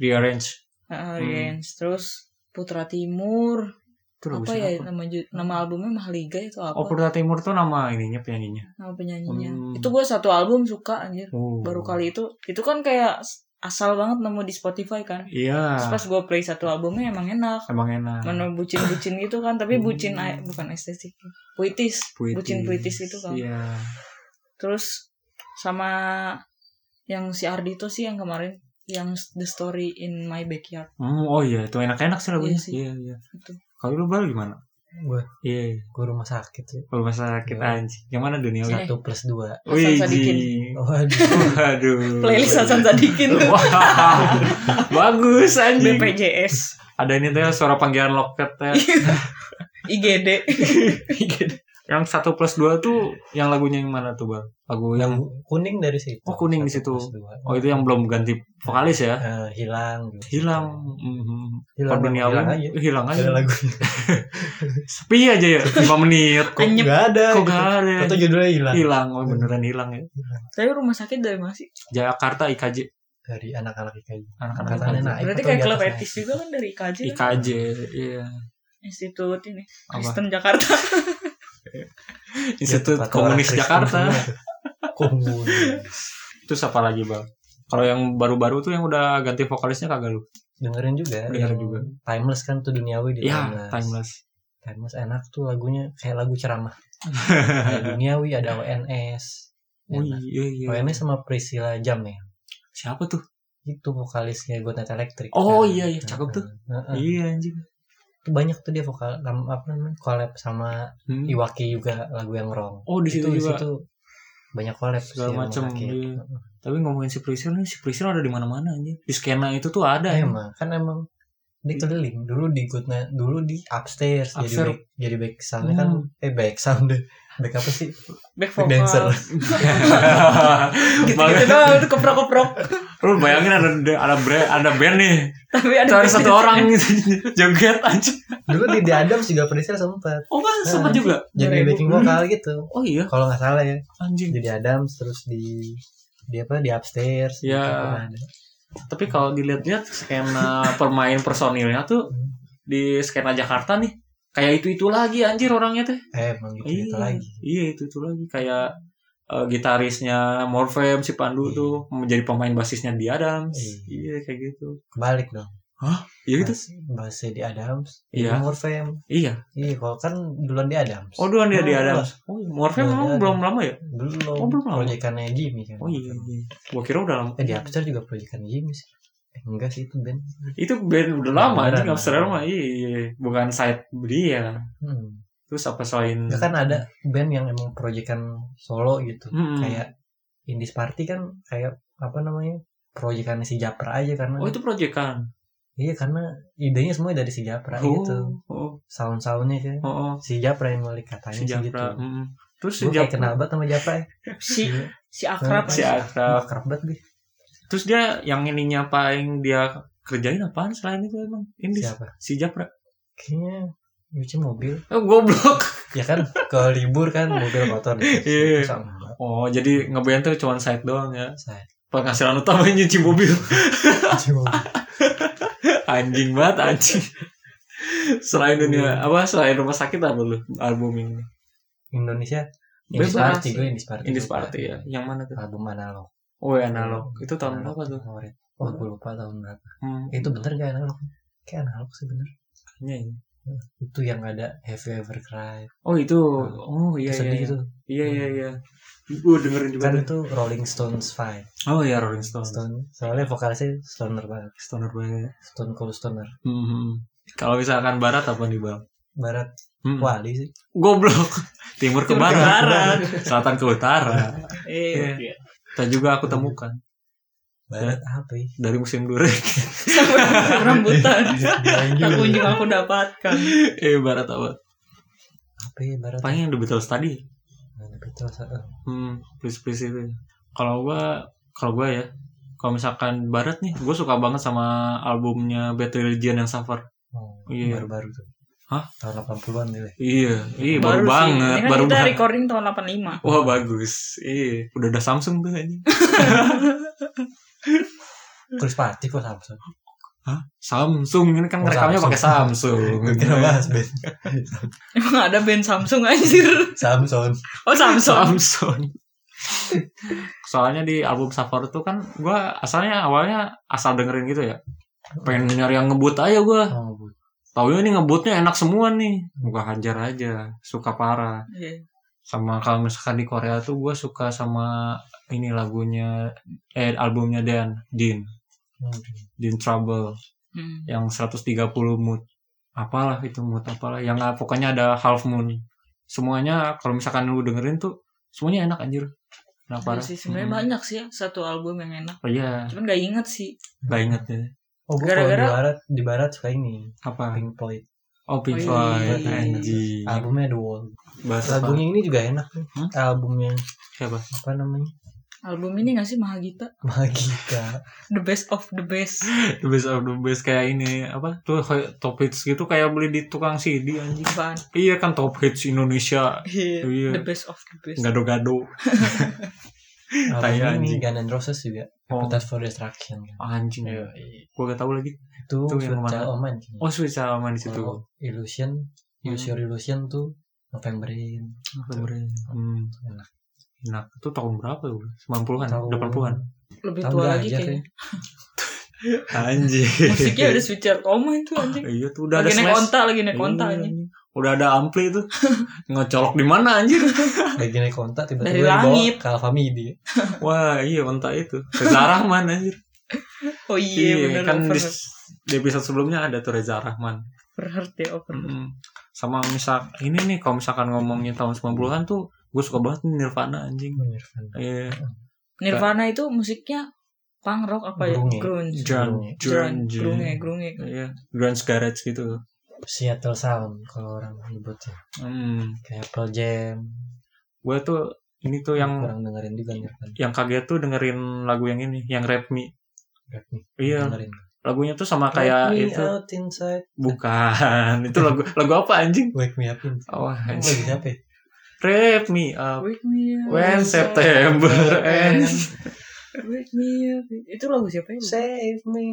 [SPEAKER 1] rearrange
[SPEAKER 3] Heeh, Riens. terus Putra Timur,
[SPEAKER 1] itu lagu
[SPEAKER 3] apa
[SPEAKER 1] siapa?
[SPEAKER 3] ya nama ju- nama albumnya Mahliga itu apa?
[SPEAKER 1] Oh Purta Timur tuh nama ininya penyanyinya.
[SPEAKER 3] nama penyanyinya.
[SPEAKER 1] Hmm.
[SPEAKER 3] Itu gua satu album suka anjir.
[SPEAKER 1] Oh.
[SPEAKER 3] Baru kali itu, itu kan kayak asal banget nemu di Spotify kan.
[SPEAKER 1] Iya.
[SPEAKER 3] Terus pas gua play satu albumnya emang enak.
[SPEAKER 1] Emang enak.
[SPEAKER 3] mana bucin-bucin gitu kan tapi
[SPEAKER 1] Hmm.
[SPEAKER 3] bucin a- bukan estetik puitis bucin puitis itu kan
[SPEAKER 1] Iya.
[SPEAKER 3] terus sama yang si Ardito sih yang kemarin yang the story in my backyard
[SPEAKER 1] Hmm, oh iya itu enak-enak sih lagunya.
[SPEAKER 3] Iya sih.
[SPEAKER 1] Iya iya.
[SPEAKER 3] itu
[SPEAKER 1] Kalau lu bal gimana?
[SPEAKER 4] Gue
[SPEAKER 1] Iya.
[SPEAKER 4] gue rumah sakit sih.
[SPEAKER 1] Kalau masa kita
[SPEAKER 4] Iya.
[SPEAKER 1] anjing. Gimana dunia
[SPEAKER 3] Iya.
[SPEAKER 4] Satu plus dua.
[SPEAKER 3] Hasan Sadikin.
[SPEAKER 4] Waduh.
[SPEAKER 1] Aduh.
[SPEAKER 3] playlist Hasan Sadikin
[SPEAKER 1] Wah. Bagus anjing.
[SPEAKER 3] BPJS
[SPEAKER 1] Ada ini tuh ya, suara panggilan loket ya.
[SPEAKER 3] Iya. IGD
[SPEAKER 1] yang satu plus dua tuh yang lagunya yang mana tuh bal? Lagu yang
[SPEAKER 4] yang kuning dari situ.
[SPEAKER 1] Oh, kuning di situ.
[SPEAKER 4] Satu plus dua.
[SPEAKER 1] oh itu yang belum ganti vokalis ya?
[SPEAKER 4] Eh, hilang.
[SPEAKER 1] Hilang. Mhm.
[SPEAKER 4] Hilang.
[SPEAKER 1] Perduniawi
[SPEAKER 4] hilang aja.
[SPEAKER 1] hilang
[SPEAKER 4] Gak
[SPEAKER 1] aja.
[SPEAKER 4] Ada lagunya.
[SPEAKER 1] Sepi aja ya 5 menit
[SPEAKER 4] Kok
[SPEAKER 3] Anyep.
[SPEAKER 4] nggak ada?
[SPEAKER 1] kok
[SPEAKER 4] gitu.
[SPEAKER 1] gak ada ya?
[SPEAKER 4] Atau judulnya hilang.
[SPEAKER 1] hilang oh beneran hilang ya
[SPEAKER 3] tapi rumah sakit dari mana sih
[SPEAKER 1] Jakarta IKJ
[SPEAKER 4] Dari anak-anak IKJ.
[SPEAKER 1] anak-anak
[SPEAKER 4] Angkatannya
[SPEAKER 1] IKJ
[SPEAKER 4] naik.
[SPEAKER 3] berarti
[SPEAKER 4] atau
[SPEAKER 3] kayak
[SPEAKER 4] di
[SPEAKER 3] klub
[SPEAKER 4] atasnya?
[SPEAKER 3] etis juga kan dari IKJ kan?
[SPEAKER 1] IKJ iya
[SPEAKER 3] Institut ini
[SPEAKER 1] Apa?
[SPEAKER 3] Kristen Jakarta
[SPEAKER 1] Institut
[SPEAKER 4] Iya, tempat
[SPEAKER 1] Komunis
[SPEAKER 4] orang Kristen
[SPEAKER 1] Jakarta
[SPEAKER 4] semua. Komunis.
[SPEAKER 1] terus apa lagi bang Kalau yang baru-baru tuh yang udah ganti vokalisnya kagak lu.
[SPEAKER 4] dengerin juga
[SPEAKER 1] Dengerin
[SPEAKER 4] yang
[SPEAKER 1] juga.
[SPEAKER 4] timeless kan tuh duniawi di
[SPEAKER 1] Iya, timeless.
[SPEAKER 4] timeless enak tuh lagunya kayak lagu ceramah ada duniawi ada ONS
[SPEAKER 1] Oh
[SPEAKER 4] Enak.
[SPEAKER 1] iya iya.
[SPEAKER 4] ONS sama Priscilla Jam ya
[SPEAKER 1] Siapa tuh?
[SPEAKER 4] itu vokalisnya Got Net Electric
[SPEAKER 1] Oh,
[SPEAKER 4] Nah,
[SPEAKER 1] iya, iya. Cakep tuh.
[SPEAKER 4] nah, nah.
[SPEAKER 1] Iya anjing.
[SPEAKER 4] Itu banyak tuh dia vokal nam- apa namanya collab sama
[SPEAKER 1] Hmm.
[SPEAKER 4] Iwaki juga lagu yang wrong
[SPEAKER 1] Oh di situ
[SPEAKER 4] Itu-
[SPEAKER 1] juga.
[SPEAKER 4] situ banyak collab sih
[SPEAKER 1] Segala
[SPEAKER 4] sama
[SPEAKER 1] macem,
[SPEAKER 4] Iwaki.
[SPEAKER 1] iya. Tapi ngomongin si Priscil nih, si Priscil ada di mana-mana anjing. Di skena itu tuh ada.
[SPEAKER 4] Nah,
[SPEAKER 1] anjing.
[SPEAKER 4] emang kan emang dia keliling dulu di good night dulu di upstairs, jadi
[SPEAKER 1] Upstairs. Hmm.
[SPEAKER 4] back jadi back sound kan eh back sound deh back apa sih
[SPEAKER 3] Back
[SPEAKER 4] back
[SPEAKER 3] vokal.
[SPEAKER 4] dancer
[SPEAKER 3] Gitu
[SPEAKER 1] Bang,
[SPEAKER 3] doang itu keprok-keprok.
[SPEAKER 1] lu bayangin ada ada bre- ada band nih.
[SPEAKER 3] Tapi ada
[SPEAKER 1] Cuma ada
[SPEAKER 3] back
[SPEAKER 1] satu
[SPEAKER 3] dancer.
[SPEAKER 1] orang gitu joget anjing.
[SPEAKER 4] dulu di The Adams juga Priscilla sempet
[SPEAKER 1] Oh, Bang, sempat
[SPEAKER 4] Nah.
[SPEAKER 1] juga.
[SPEAKER 4] jadi
[SPEAKER 3] Dari-
[SPEAKER 4] backing vokal gitu
[SPEAKER 1] Oh iya,
[SPEAKER 4] kalau nggak salah ya
[SPEAKER 1] anjing.
[SPEAKER 4] jadi Adams terus di di apa di upstairs
[SPEAKER 1] Ya.
[SPEAKER 4] gitu pernah ada.
[SPEAKER 1] Tapi kalau dilihat-lihat skena permain personilnya tuh di skena Jakarta nih kayak itu itu lagi anjir orangnya teh
[SPEAKER 4] eh emang gitu gitu lagi
[SPEAKER 1] iya itu itu lagi kayak eh, gitarisnya Morfem si Pandu
[SPEAKER 4] Iya.
[SPEAKER 1] tuh menjadi pemain basisnya di Adams
[SPEAKER 4] Iya.
[SPEAKER 1] iya kayak gitu
[SPEAKER 4] kebalik dong
[SPEAKER 1] iya gitu
[SPEAKER 4] Bas- bahasnya di Adams
[SPEAKER 1] Iya.
[SPEAKER 4] di Morfem
[SPEAKER 1] iya
[SPEAKER 4] iya kalau kan duluan di Adams
[SPEAKER 1] oh duluan dia di
[SPEAKER 4] Oh,
[SPEAKER 1] Adams oh iya. Morfem
[SPEAKER 4] Iya,
[SPEAKER 1] memang
[SPEAKER 4] iya.
[SPEAKER 1] belum lama ya
[SPEAKER 4] belum
[SPEAKER 1] Oh, belum lama.
[SPEAKER 4] proyekannya Jimmy kan
[SPEAKER 1] oh iya iya gua kira udah lama
[SPEAKER 4] eh di upstairs juga proyekan Jimmy sih Eh, enggak sih itu band
[SPEAKER 1] itu band udah lama
[SPEAKER 4] Beneran,
[SPEAKER 1] anjing Amsterdam
[SPEAKER 4] beneran.
[SPEAKER 1] mah iya bukan side dia
[SPEAKER 4] hmm.
[SPEAKER 1] terus apa selain
[SPEAKER 4] Nggak kan ada band yang emang proyekan solo gitu
[SPEAKER 1] Mm-mm.
[SPEAKER 4] kayak Indies Party kan kayak apa namanya proyekannya si Japra aja karena
[SPEAKER 1] oh itu proyekan
[SPEAKER 4] iya karena idenya semua dari si Japra
[SPEAKER 1] oh,
[SPEAKER 4] gitu
[SPEAKER 1] oh
[SPEAKER 4] sound-soundnya kan
[SPEAKER 1] oh oh
[SPEAKER 4] si Japra yang ngulik katanya
[SPEAKER 1] si
[SPEAKER 4] sih gitu
[SPEAKER 1] Japra mm-mm. terus si
[SPEAKER 4] gue kayak
[SPEAKER 1] Japra-
[SPEAKER 4] kenal banget sama Japra ya
[SPEAKER 3] Si si akrab.
[SPEAKER 1] si Akrab
[SPEAKER 4] Wah, akrab banget deh
[SPEAKER 1] Terus dia yang ininya apa yang dia kerjain apaan selain itu emang? Ini si,
[SPEAKER 4] siapa
[SPEAKER 1] si Japra.
[SPEAKER 4] kayaknya nyuci mobil
[SPEAKER 1] Oh, goblok.
[SPEAKER 4] ya kan kalau libur kan mobil motor di
[SPEAKER 1] Iya.
[SPEAKER 4] Masa enggak?
[SPEAKER 1] Oh, jadi ngeband tuh cuman side doang ya.
[SPEAKER 4] Saya
[SPEAKER 1] Penghasilan utamanya nyuci mobil.
[SPEAKER 4] nyuci mobil.
[SPEAKER 1] anjing banget anjing. Selain dunia
[SPEAKER 4] Hmm.
[SPEAKER 1] apa selain rumah sakit apa lu album ini?
[SPEAKER 4] Indonesia
[SPEAKER 1] Bebas.
[SPEAKER 4] Indies Party gue Indies Party
[SPEAKER 1] Indis
[SPEAKER 4] lupa.
[SPEAKER 1] Party ya. Yang mana tuh?
[SPEAKER 4] album analog Iya.
[SPEAKER 1] Oh, ya, analog. Itu tahun berapa tuh?
[SPEAKER 4] favorit oh gue lupa tahun berapa
[SPEAKER 1] Hmm,
[SPEAKER 4] itu bener gak analog kayak analog sih bener
[SPEAKER 1] kayaknya ya.
[SPEAKER 4] itu yang ada Have You Ever Cried
[SPEAKER 1] Oh, itu. Oh, iya
[SPEAKER 4] sedih
[SPEAKER 1] iya.
[SPEAKER 4] itu
[SPEAKER 1] Iya iya iya. Gue dengerin juga. tuh.
[SPEAKER 4] kan itu Rolling Stones vibe
[SPEAKER 1] Oh iya Rolling Stone.
[SPEAKER 4] Stone soalnya vokalisnya stoner banget
[SPEAKER 1] Stoner banget.
[SPEAKER 4] Stone Cold Stoner
[SPEAKER 1] Hmm. Kalau misalkan barat apa nih, Bang?
[SPEAKER 4] barat
[SPEAKER 1] Hmm.
[SPEAKER 4] wali sih
[SPEAKER 1] Goblok. Timur ke
[SPEAKER 3] Timur ke
[SPEAKER 1] barat,
[SPEAKER 3] barat.
[SPEAKER 1] selatan ke utara.
[SPEAKER 3] Iya. iya.
[SPEAKER 1] Dan juga aku temukan
[SPEAKER 4] barat apa ya
[SPEAKER 1] dari musim durian.
[SPEAKER 3] Sampai rambutan.
[SPEAKER 1] Iya.
[SPEAKER 3] Tak kunjung aku dapatkan.
[SPEAKER 1] eh barat apa?
[SPEAKER 4] apa ya barat
[SPEAKER 1] Paling yang The Beatles tadi.
[SPEAKER 4] Nah, The Beatles eh,
[SPEAKER 1] Hmm, please please itu. Kalau gua kalau gua ya, kalau misalkan barat nih, gua suka banget sama albumnya Bad Religion yang Suffer.
[SPEAKER 4] oh,
[SPEAKER 1] Iya.
[SPEAKER 4] baru-baru tuh
[SPEAKER 1] Hah?
[SPEAKER 4] tahun 80-an deh
[SPEAKER 1] Iya, iya baru,
[SPEAKER 3] sih.
[SPEAKER 1] banget,
[SPEAKER 3] Ini kan
[SPEAKER 1] baru
[SPEAKER 3] kita
[SPEAKER 1] banget.
[SPEAKER 3] recording tahun 85.
[SPEAKER 1] Wah bagus, iya udah ada Samsung tuh aja.
[SPEAKER 4] Chris Party kok Samsung
[SPEAKER 1] Hah? Samsung ini kan
[SPEAKER 4] Oh,
[SPEAKER 1] rekamnya
[SPEAKER 4] Samsung.
[SPEAKER 1] pakai Samsung.
[SPEAKER 4] gue kira bahas Ben
[SPEAKER 3] Emang ada band Samsung anjir.
[SPEAKER 4] Samson
[SPEAKER 3] Oh Samsung.
[SPEAKER 1] Samson. Soalnya di album Safar itu kan gua asalnya awalnya asal dengerin gitu ya. Pengen nyari yang ngebut aja gua
[SPEAKER 4] oh, bu-
[SPEAKER 1] Taunya ini ngebutnya enak semua nih. Gua hajar aja, suka parah.
[SPEAKER 3] Iya.
[SPEAKER 1] Sama kalau misalkan di Korea tuh gua suka sama ini lagunya eh albumnya Dan Din,
[SPEAKER 4] oh,
[SPEAKER 1] Din Trouble
[SPEAKER 3] Hmm.
[SPEAKER 1] yang 130 mood. Apalah itu mood apalah yang ah, pokoknya ada half moon. Semuanya kalau misalkan lu dengerin tuh semuanya enak anjir. Enak
[SPEAKER 3] Iya
[SPEAKER 1] parah.
[SPEAKER 3] sih sebenarnya
[SPEAKER 1] Mm.
[SPEAKER 3] banyak sih ya, satu album yang enak.
[SPEAKER 1] Oh iya,
[SPEAKER 3] Cuman gak inget sih.
[SPEAKER 1] gak inget ya.
[SPEAKER 4] oh gue kalau di
[SPEAKER 3] Gara-gara-
[SPEAKER 4] barat di barat suka ini
[SPEAKER 1] Apa?
[SPEAKER 4] Pink Floyd
[SPEAKER 1] Oh, Pink
[SPEAKER 3] Oh,
[SPEAKER 1] Floyd.
[SPEAKER 3] iya.
[SPEAKER 1] Anjing.
[SPEAKER 4] albumnya The Wall
[SPEAKER 1] Bahasa apa?
[SPEAKER 4] lagunya ini juga enak nih
[SPEAKER 1] Hmm?
[SPEAKER 4] albumnya
[SPEAKER 1] Siapa?
[SPEAKER 4] apa namanya
[SPEAKER 3] Album ini gak sih Mahagita?
[SPEAKER 4] Magika
[SPEAKER 3] The best of the best.
[SPEAKER 1] The Best of the Best kayak ini apa? Tuh kayak top hits gitu kayak beli di tukang CD anjing.
[SPEAKER 3] Apaan?
[SPEAKER 1] Iya kan top hits Indonesia.
[SPEAKER 3] Iya.
[SPEAKER 1] Iya.
[SPEAKER 3] The best of the best.
[SPEAKER 1] Gado-gado. Tai
[SPEAKER 4] albumnya ini
[SPEAKER 1] anjing.
[SPEAKER 4] Gun N' Roses
[SPEAKER 3] Iya.
[SPEAKER 4] juga
[SPEAKER 1] Oh.
[SPEAKER 4] Appetite for Destruction kan
[SPEAKER 1] Anjing. Gua gak tahu lagi.
[SPEAKER 4] itu
[SPEAKER 1] Itu yang
[SPEAKER 4] Sweet
[SPEAKER 1] mana?
[SPEAKER 4] Child O' Mine kayaknya.
[SPEAKER 1] Oh, Hmm. Sweet Child O' Mine di situ.
[SPEAKER 4] Oh, Illusion Use Your Illusion tuh Novemberin
[SPEAKER 1] Apa yang bener? Gitu. Hmm.
[SPEAKER 4] Enak.
[SPEAKER 1] Enak. Itu tahun berapa ya? 90-an,
[SPEAKER 4] Tahun
[SPEAKER 1] 80-an.
[SPEAKER 3] lebih
[SPEAKER 4] Tahu
[SPEAKER 3] tua
[SPEAKER 4] dah
[SPEAKER 3] lagi
[SPEAKER 4] aja
[SPEAKER 3] kayaknya.
[SPEAKER 1] Anjing.
[SPEAKER 3] Musiknya udah switcher koma itu anjing.
[SPEAKER 1] Iya tuh udah ada
[SPEAKER 3] Lagi naik
[SPEAKER 1] smash.
[SPEAKER 3] onta, lagi naik onta
[SPEAKER 1] Iya,
[SPEAKER 3] anjing.
[SPEAKER 1] Udah ada ampli tuh. Ngecolok di mana anjir?
[SPEAKER 4] Lagi naik kontak tiba-tiba
[SPEAKER 3] Dari
[SPEAKER 4] dibawa
[SPEAKER 3] langit.
[SPEAKER 4] ke Alfamidi.
[SPEAKER 1] Wah, iya entah itu. Reza Rahman anjir.
[SPEAKER 3] Oh iya, bener
[SPEAKER 1] kan di,
[SPEAKER 3] over,
[SPEAKER 1] di episode sebelumnya ada tuh Reza Rahman.
[SPEAKER 3] overheard ya overheard.
[SPEAKER 1] Mm-mm. Sama misal ini nih kalau misalkan ngomongin tahun 90-an tuh gue suka banget nih Nirvana anjing.
[SPEAKER 4] Nirvana.
[SPEAKER 1] Iya.
[SPEAKER 3] Nirvana itu musiknya punk rock apa ya? Grunge.
[SPEAKER 4] Grunge.
[SPEAKER 1] John John
[SPEAKER 3] Grunge, grunge, grunge.
[SPEAKER 1] Iya, grunge garage gitu.
[SPEAKER 4] Seattle Sound kalau orang nyebutnya.
[SPEAKER 1] Hmm.
[SPEAKER 4] Kayak Pearl Jam.
[SPEAKER 1] Gue tuh ini tuh yang
[SPEAKER 4] kurang dengerin juga Nirvana.
[SPEAKER 1] yang kaget tuh dengerin lagu yang ini, yang Rap Me.
[SPEAKER 4] Rap nih.
[SPEAKER 1] Iya,
[SPEAKER 4] Dengerin.
[SPEAKER 1] lagunya tuh sama
[SPEAKER 4] Wake
[SPEAKER 1] kayak
[SPEAKER 4] me
[SPEAKER 1] itu.
[SPEAKER 4] out inside.
[SPEAKER 1] Bukan, itu lagu lagu apa anjing?
[SPEAKER 4] Wake me up inside.
[SPEAKER 1] Oh,
[SPEAKER 4] Lagu
[SPEAKER 1] anjing.
[SPEAKER 4] siapa ya?
[SPEAKER 1] Rap me up
[SPEAKER 3] Wake me up.
[SPEAKER 1] when September ends.
[SPEAKER 3] Wake me up. Itu lagu siapa ya?
[SPEAKER 4] Save me.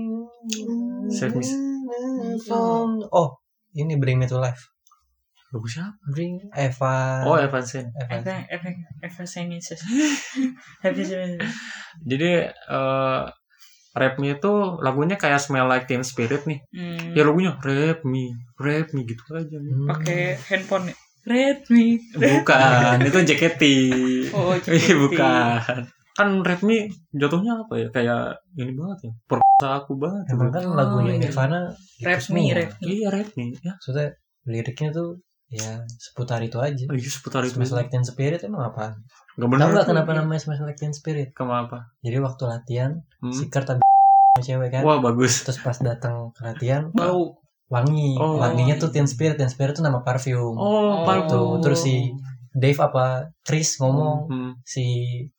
[SPEAKER 1] Save me.
[SPEAKER 4] From... Oh, ini Bring Me to Life.
[SPEAKER 1] Lagu siapa?
[SPEAKER 4] Bring Eva.
[SPEAKER 1] Oh, Evan Sen.
[SPEAKER 4] Eva.
[SPEAKER 3] Efek efek efek semisis. Efek semisis.
[SPEAKER 1] Jadi eh rap me itu lagunya kayak Smell Like Teen Spirit nih.
[SPEAKER 3] Hmm.
[SPEAKER 1] Ya lagunya rap me, rap me gitu aja.
[SPEAKER 4] Hmm.
[SPEAKER 3] Pakai handphone ya. Redmi.
[SPEAKER 1] Bukan, itu JKT.
[SPEAKER 3] Oh,
[SPEAKER 1] Ih,
[SPEAKER 3] JKT.
[SPEAKER 1] Iya, bukan. Kan rap me jatuhnya apa ya? Kayak ini banget ya. Perkosa aku banget.
[SPEAKER 4] Emang kan
[SPEAKER 3] Oh,
[SPEAKER 4] lagunya
[SPEAKER 3] iya.
[SPEAKER 4] Nirvana gitu
[SPEAKER 3] Rap me,
[SPEAKER 4] semua.
[SPEAKER 3] rap me.
[SPEAKER 1] Iya rap me. Ya,
[SPEAKER 4] Maksudnya liriknya tuh ya seputar itu aja.
[SPEAKER 1] iya seputar itu.
[SPEAKER 4] Smash Like Teen Spirit emang apa?
[SPEAKER 1] Gak
[SPEAKER 4] Tahu
[SPEAKER 1] bener.
[SPEAKER 4] nggak
[SPEAKER 1] tuh.
[SPEAKER 4] kenapa namanya Smash Like Teen Spirit?
[SPEAKER 1] Kenapa?
[SPEAKER 4] Jadi waktu latihan
[SPEAKER 1] Hmm.
[SPEAKER 4] si Kurt habis sama cewek kan.
[SPEAKER 1] Wah bagus.
[SPEAKER 4] Terus pas datang ke latihan ah,
[SPEAKER 3] Bau.
[SPEAKER 4] wangi.
[SPEAKER 1] Oh.
[SPEAKER 4] Wanginya tuh Teen Spirit. Teen Spirit tuh nama parfum.
[SPEAKER 1] Oh,
[SPEAKER 3] Oh.
[SPEAKER 1] parfum.
[SPEAKER 4] Tuh, terus si Dave apa Chris ngomong
[SPEAKER 1] Hmm.
[SPEAKER 4] si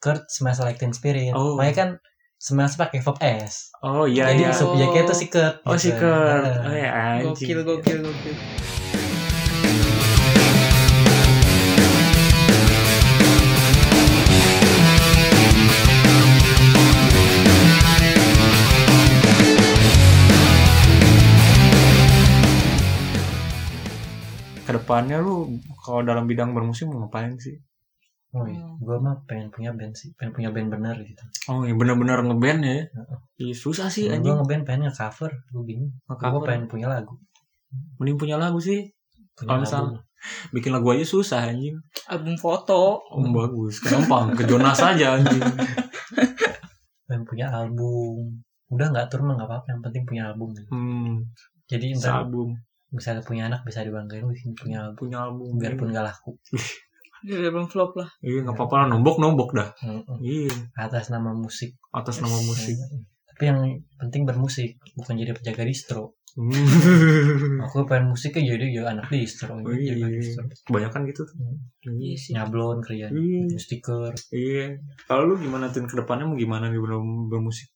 [SPEAKER 4] Kurt Smash Like Teen Spirit.
[SPEAKER 1] Oh.
[SPEAKER 4] Makanya kan Smash pakai Pop S.
[SPEAKER 1] Oh iya
[SPEAKER 4] Jadi
[SPEAKER 1] iya.
[SPEAKER 3] sup-
[SPEAKER 4] subjeknya tuh si Kurt.
[SPEAKER 1] Oh si
[SPEAKER 4] gitu.
[SPEAKER 1] Kurt.
[SPEAKER 4] Heeh.
[SPEAKER 1] Oh, ya, anjing.
[SPEAKER 3] Gokil, gokil, gokil.
[SPEAKER 1] Kedepannya lu kalau dalam bidang bermusik mau ngapain sih?
[SPEAKER 4] Oh, iya. Gue mah pengen punya band sih, pengen punya band bener gitu.
[SPEAKER 1] Oh iya benar-benar ngeband ya.
[SPEAKER 4] Heeh.
[SPEAKER 1] Iya susah sih
[SPEAKER 4] Gue
[SPEAKER 1] anjing.
[SPEAKER 4] ngeband pengen nge-cover, gue bingung. Gue
[SPEAKER 1] Ngecover.
[SPEAKER 4] pengen punya lagu.
[SPEAKER 1] Mending punya lagu sih.
[SPEAKER 4] Punya
[SPEAKER 1] Kalau
[SPEAKER 4] lagu.
[SPEAKER 1] misalnya- Bikin lagu aja susah anjing.
[SPEAKER 3] Album foto.
[SPEAKER 1] Om bagus, gampang. Ke Jonas aja anjing.
[SPEAKER 4] Pengen punya album. Udah nggak tur mah nggak apa-apa, yang penting punya album. gitu.
[SPEAKER 1] Hmm,
[SPEAKER 4] Jadi ntar
[SPEAKER 1] album,
[SPEAKER 4] misalnya punya anak bisa dibanggain, wih ini punya
[SPEAKER 1] Ya,
[SPEAKER 4] album.
[SPEAKER 1] punya album.
[SPEAKER 4] Biarpun nggak laku.
[SPEAKER 3] Dia belum flop lah.
[SPEAKER 1] Iya nggak apa-apa lah nombok nombok dah.
[SPEAKER 4] Heeh.
[SPEAKER 1] Iya
[SPEAKER 4] mm, Atas nama musik.
[SPEAKER 1] atas nama musik.
[SPEAKER 4] Heeh. Tapi yang penting bermusik, bukan jadi penjaga distro.
[SPEAKER 1] Hmm.
[SPEAKER 4] Aku pengen musiknya jadi ya anak distro.
[SPEAKER 1] Oh, iya.
[SPEAKER 4] Penjaga distro.
[SPEAKER 1] Kebanyakan gitu tuh.
[SPEAKER 3] Iya sih.
[SPEAKER 4] Nyablon kerjaan.
[SPEAKER 1] Iya.
[SPEAKER 4] Stiker.
[SPEAKER 1] Iya. Kalau lu gimana tin kedepannya mau gimana nih belum bermusik?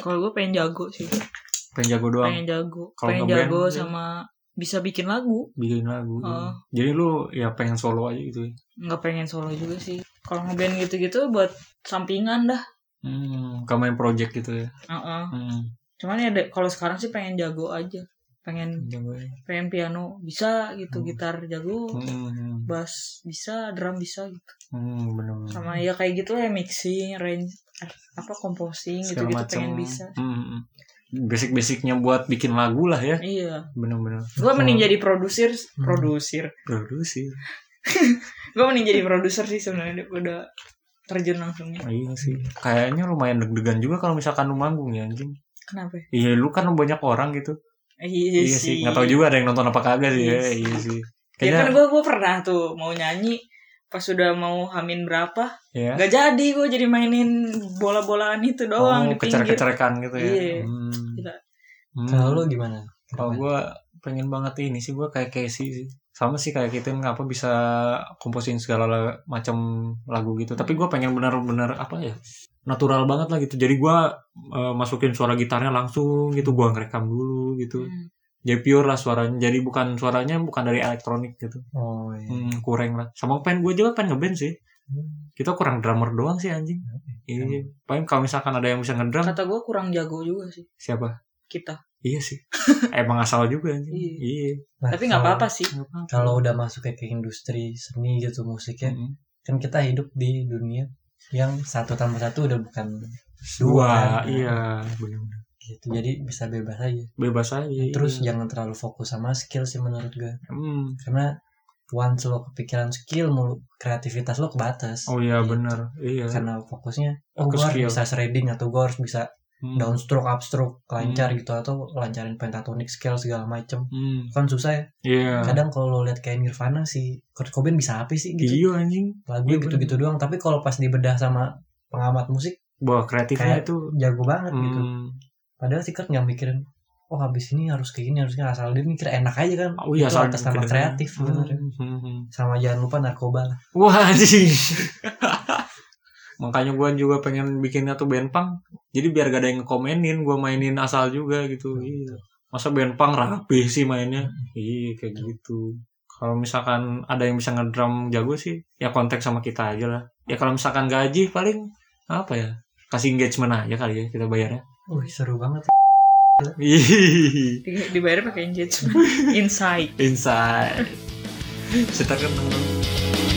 [SPEAKER 3] Kalau gue pengen jago sih.
[SPEAKER 1] Pengen jago doang,
[SPEAKER 3] Pengen jago.
[SPEAKER 1] Iya Kalau
[SPEAKER 3] Pengen
[SPEAKER 1] ngeband,
[SPEAKER 3] jago
[SPEAKER 1] iya.
[SPEAKER 3] sama bisa bikin lagu.
[SPEAKER 1] bikin lagu. Hmm.
[SPEAKER 3] Heeh.
[SPEAKER 1] Jadi lu ya pengen solo aja gitu. ya?
[SPEAKER 3] Nggak pengen solo juga sih. Kalau ngeband gitu-gitu buat sampingan dah.
[SPEAKER 1] Hmm, kayak main project gitu ya.
[SPEAKER 3] Heeh.
[SPEAKER 1] Hmm.
[SPEAKER 3] Cuman ya de- kalau sekarang sih pengen jago aja. Pengen
[SPEAKER 1] jago ya.
[SPEAKER 3] pengen piano bisa gitu, gitar jago,
[SPEAKER 1] Hmm,
[SPEAKER 3] bass bisa, drum bisa gitu.
[SPEAKER 1] hmm, bener.
[SPEAKER 3] Sama ya kayak gitu lah ya mixing, range apa composing
[SPEAKER 1] Segala
[SPEAKER 3] gitu-gitu
[SPEAKER 1] macam.
[SPEAKER 3] pengen bisa.
[SPEAKER 1] Hmm, hmm. Basic-basicnya buat bikin lagu lah ya.
[SPEAKER 3] Iya.
[SPEAKER 1] Bener-bener.
[SPEAKER 3] Gue mending jadi produser,
[SPEAKER 4] Hmm.
[SPEAKER 3] produser.
[SPEAKER 1] Produksi.
[SPEAKER 3] Gue mending jadi produser sih sebenarnya daripada terjun langsungnya.
[SPEAKER 1] Iya sih. Kayaknya lumayan deg-degan juga kalau misalkan lu manggung ya anjing.
[SPEAKER 3] Kenapa? ya?
[SPEAKER 1] Iya, lu kan banyak orang gitu.
[SPEAKER 3] Iya,
[SPEAKER 1] iya sih. Nggak tahu juga ada yang nonton apa kagak sih.
[SPEAKER 3] Iya
[SPEAKER 1] ya.
[SPEAKER 3] sih.
[SPEAKER 1] Iya sih.
[SPEAKER 3] Ya
[SPEAKER 1] Kayaknya
[SPEAKER 3] kan gue gue pernah tuh mau nyanyi pas sudah mau hamin berapa
[SPEAKER 1] ya.
[SPEAKER 3] nggak jadi gue jadi mainin bola-bolaan itu doang
[SPEAKER 1] oh,
[SPEAKER 3] di pinggir.
[SPEAKER 1] kecer-kecerekan gitu ya.
[SPEAKER 3] Iya.
[SPEAKER 1] Hmm.
[SPEAKER 3] Gila.
[SPEAKER 1] Hmm.
[SPEAKER 4] Kalau lu gimana?
[SPEAKER 1] Kalau gue pengen banget ini sih gue kayak Casey sih. Sama sih kayak kita apa bisa komposin segala la- macam lagu gitu. Tapi gue pengen benar-benar apa ya? Natural banget lah gitu. Jadi gue masukin suara gitarnya langsung gitu. Gue ngerekam dulu gitu.
[SPEAKER 3] Hmm.
[SPEAKER 1] Jadi pure lah suaranya. Jadi bukan suaranya bukan dari elektronik gitu.
[SPEAKER 4] Oh iya.
[SPEAKER 1] Hmm, kurang lah. Sama pengen gue juga pengen ngeband sih.
[SPEAKER 4] Hmm.
[SPEAKER 1] Kita kurang drummer doang sih anjing. Iya. Paling kalau misalkan ada yang bisa ngedrum
[SPEAKER 3] Kata gue kurang jago juga sih
[SPEAKER 1] siapa?
[SPEAKER 3] kita.
[SPEAKER 1] Iya sih. Emang asal juga anjing.
[SPEAKER 3] Iya.
[SPEAKER 1] Iya.
[SPEAKER 4] Nah,
[SPEAKER 3] Tapi nggak
[SPEAKER 4] kalau-
[SPEAKER 3] apa-apa sih.
[SPEAKER 4] Kalau udah masuk ke ke industri
[SPEAKER 1] Hmm.
[SPEAKER 4] seni gitu musiknya,
[SPEAKER 1] Mm-mm.
[SPEAKER 4] kan kita hidup di dunia yang satu tambah satu udah bukan
[SPEAKER 1] dua,
[SPEAKER 4] Dua.
[SPEAKER 1] iya bener-bener.
[SPEAKER 4] gitu jadi bisa bebas aja
[SPEAKER 1] bebas aja iya.
[SPEAKER 4] terus ya. jangan terlalu fokus sama skill sih menurut gue
[SPEAKER 1] Hmm.
[SPEAKER 4] karena once lo kepikiran skill mulu kreativitas lo kebatas
[SPEAKER 1] oh iya bener iya
[SPEAKER 4] karena fokusnya oh
[SPEAKER 1] Fokus
[SPEAKER 4] gue
[SPEAKER 1] skill.
[SPEAKER 4] harus bisa shredding atau gue harus bisa
[SPEAKER 1] Hmm.
[SPEAKER 4] downstroke upstroke lancar
[SPEAKER 1] Hmm.
[SPEAKER 4] gitu atau lancarin pentatonic skill segala macem
[SPEAKER 1] Hmm.
[SPEAKER 4] kan susah ya
[SPEAKER 1] iya
[SPEAKER 4] kadang kalau lo lihat kayak Nirvana si Kurt Cobain bisa apa sih gitu
[SPEAKER 1] iya anjing
[SPEAKER 4] lagunya
[SPEAKER 1] Iya,
[SPEAKER 4] gitu-gitu doang tapi kalau pas dibedah sama pengamat musik
[SPEAKER 1] bahwa kreatifnya
[SPEAKER 4] Kayak-
[SPEAKER 1] itu
[SPEAKER 4] jago banget gitu
[SPEAKER 1] hmm.
[SPEAKER 4] padahal si Kurt nggak mikirin oh habis ini harus kayak gini harusnya asal dia mikir enak aja kan
[SPEAKER 1] oh iya
[SPEAKER 4] itu
[SPEAKER 1] soal
[SPEAKER 4] atas nama
[SPEAKER 1] kedengeran.
[SPEAKER 4] kreatif bener ya.
[SPEAKER 1] Hmm, hmm, hmm.
[SPEAKER 4] sama jangan lupa narkoba lah
[SPEAKER 1] Wah anjing. Makanya gua juga pengen bikinnya tuh band punk. Jadi biar gak ada yang komenin, gua mainin asal juga
[SPEAKER 4] Hmm.
[SPEAKER 1] gitu. Iya. Masa band punk rapi sih mainnya? Iya kayak gitu. Kalau misalkan ada yang bisa ngedrum jago sih, ya kontak sama kita aja lah. Ya kalau misalkan gaji paling apa ya? Kasih engagement aja kali ya kita bayarnya. Iya,
[SPEAKER 4] wih seru banget
[SPEAKER 1] Ih,
[SPEAKER 3] Di- dibayar pakai engagement insight
[SPEAKER 1] Inside. Kita kan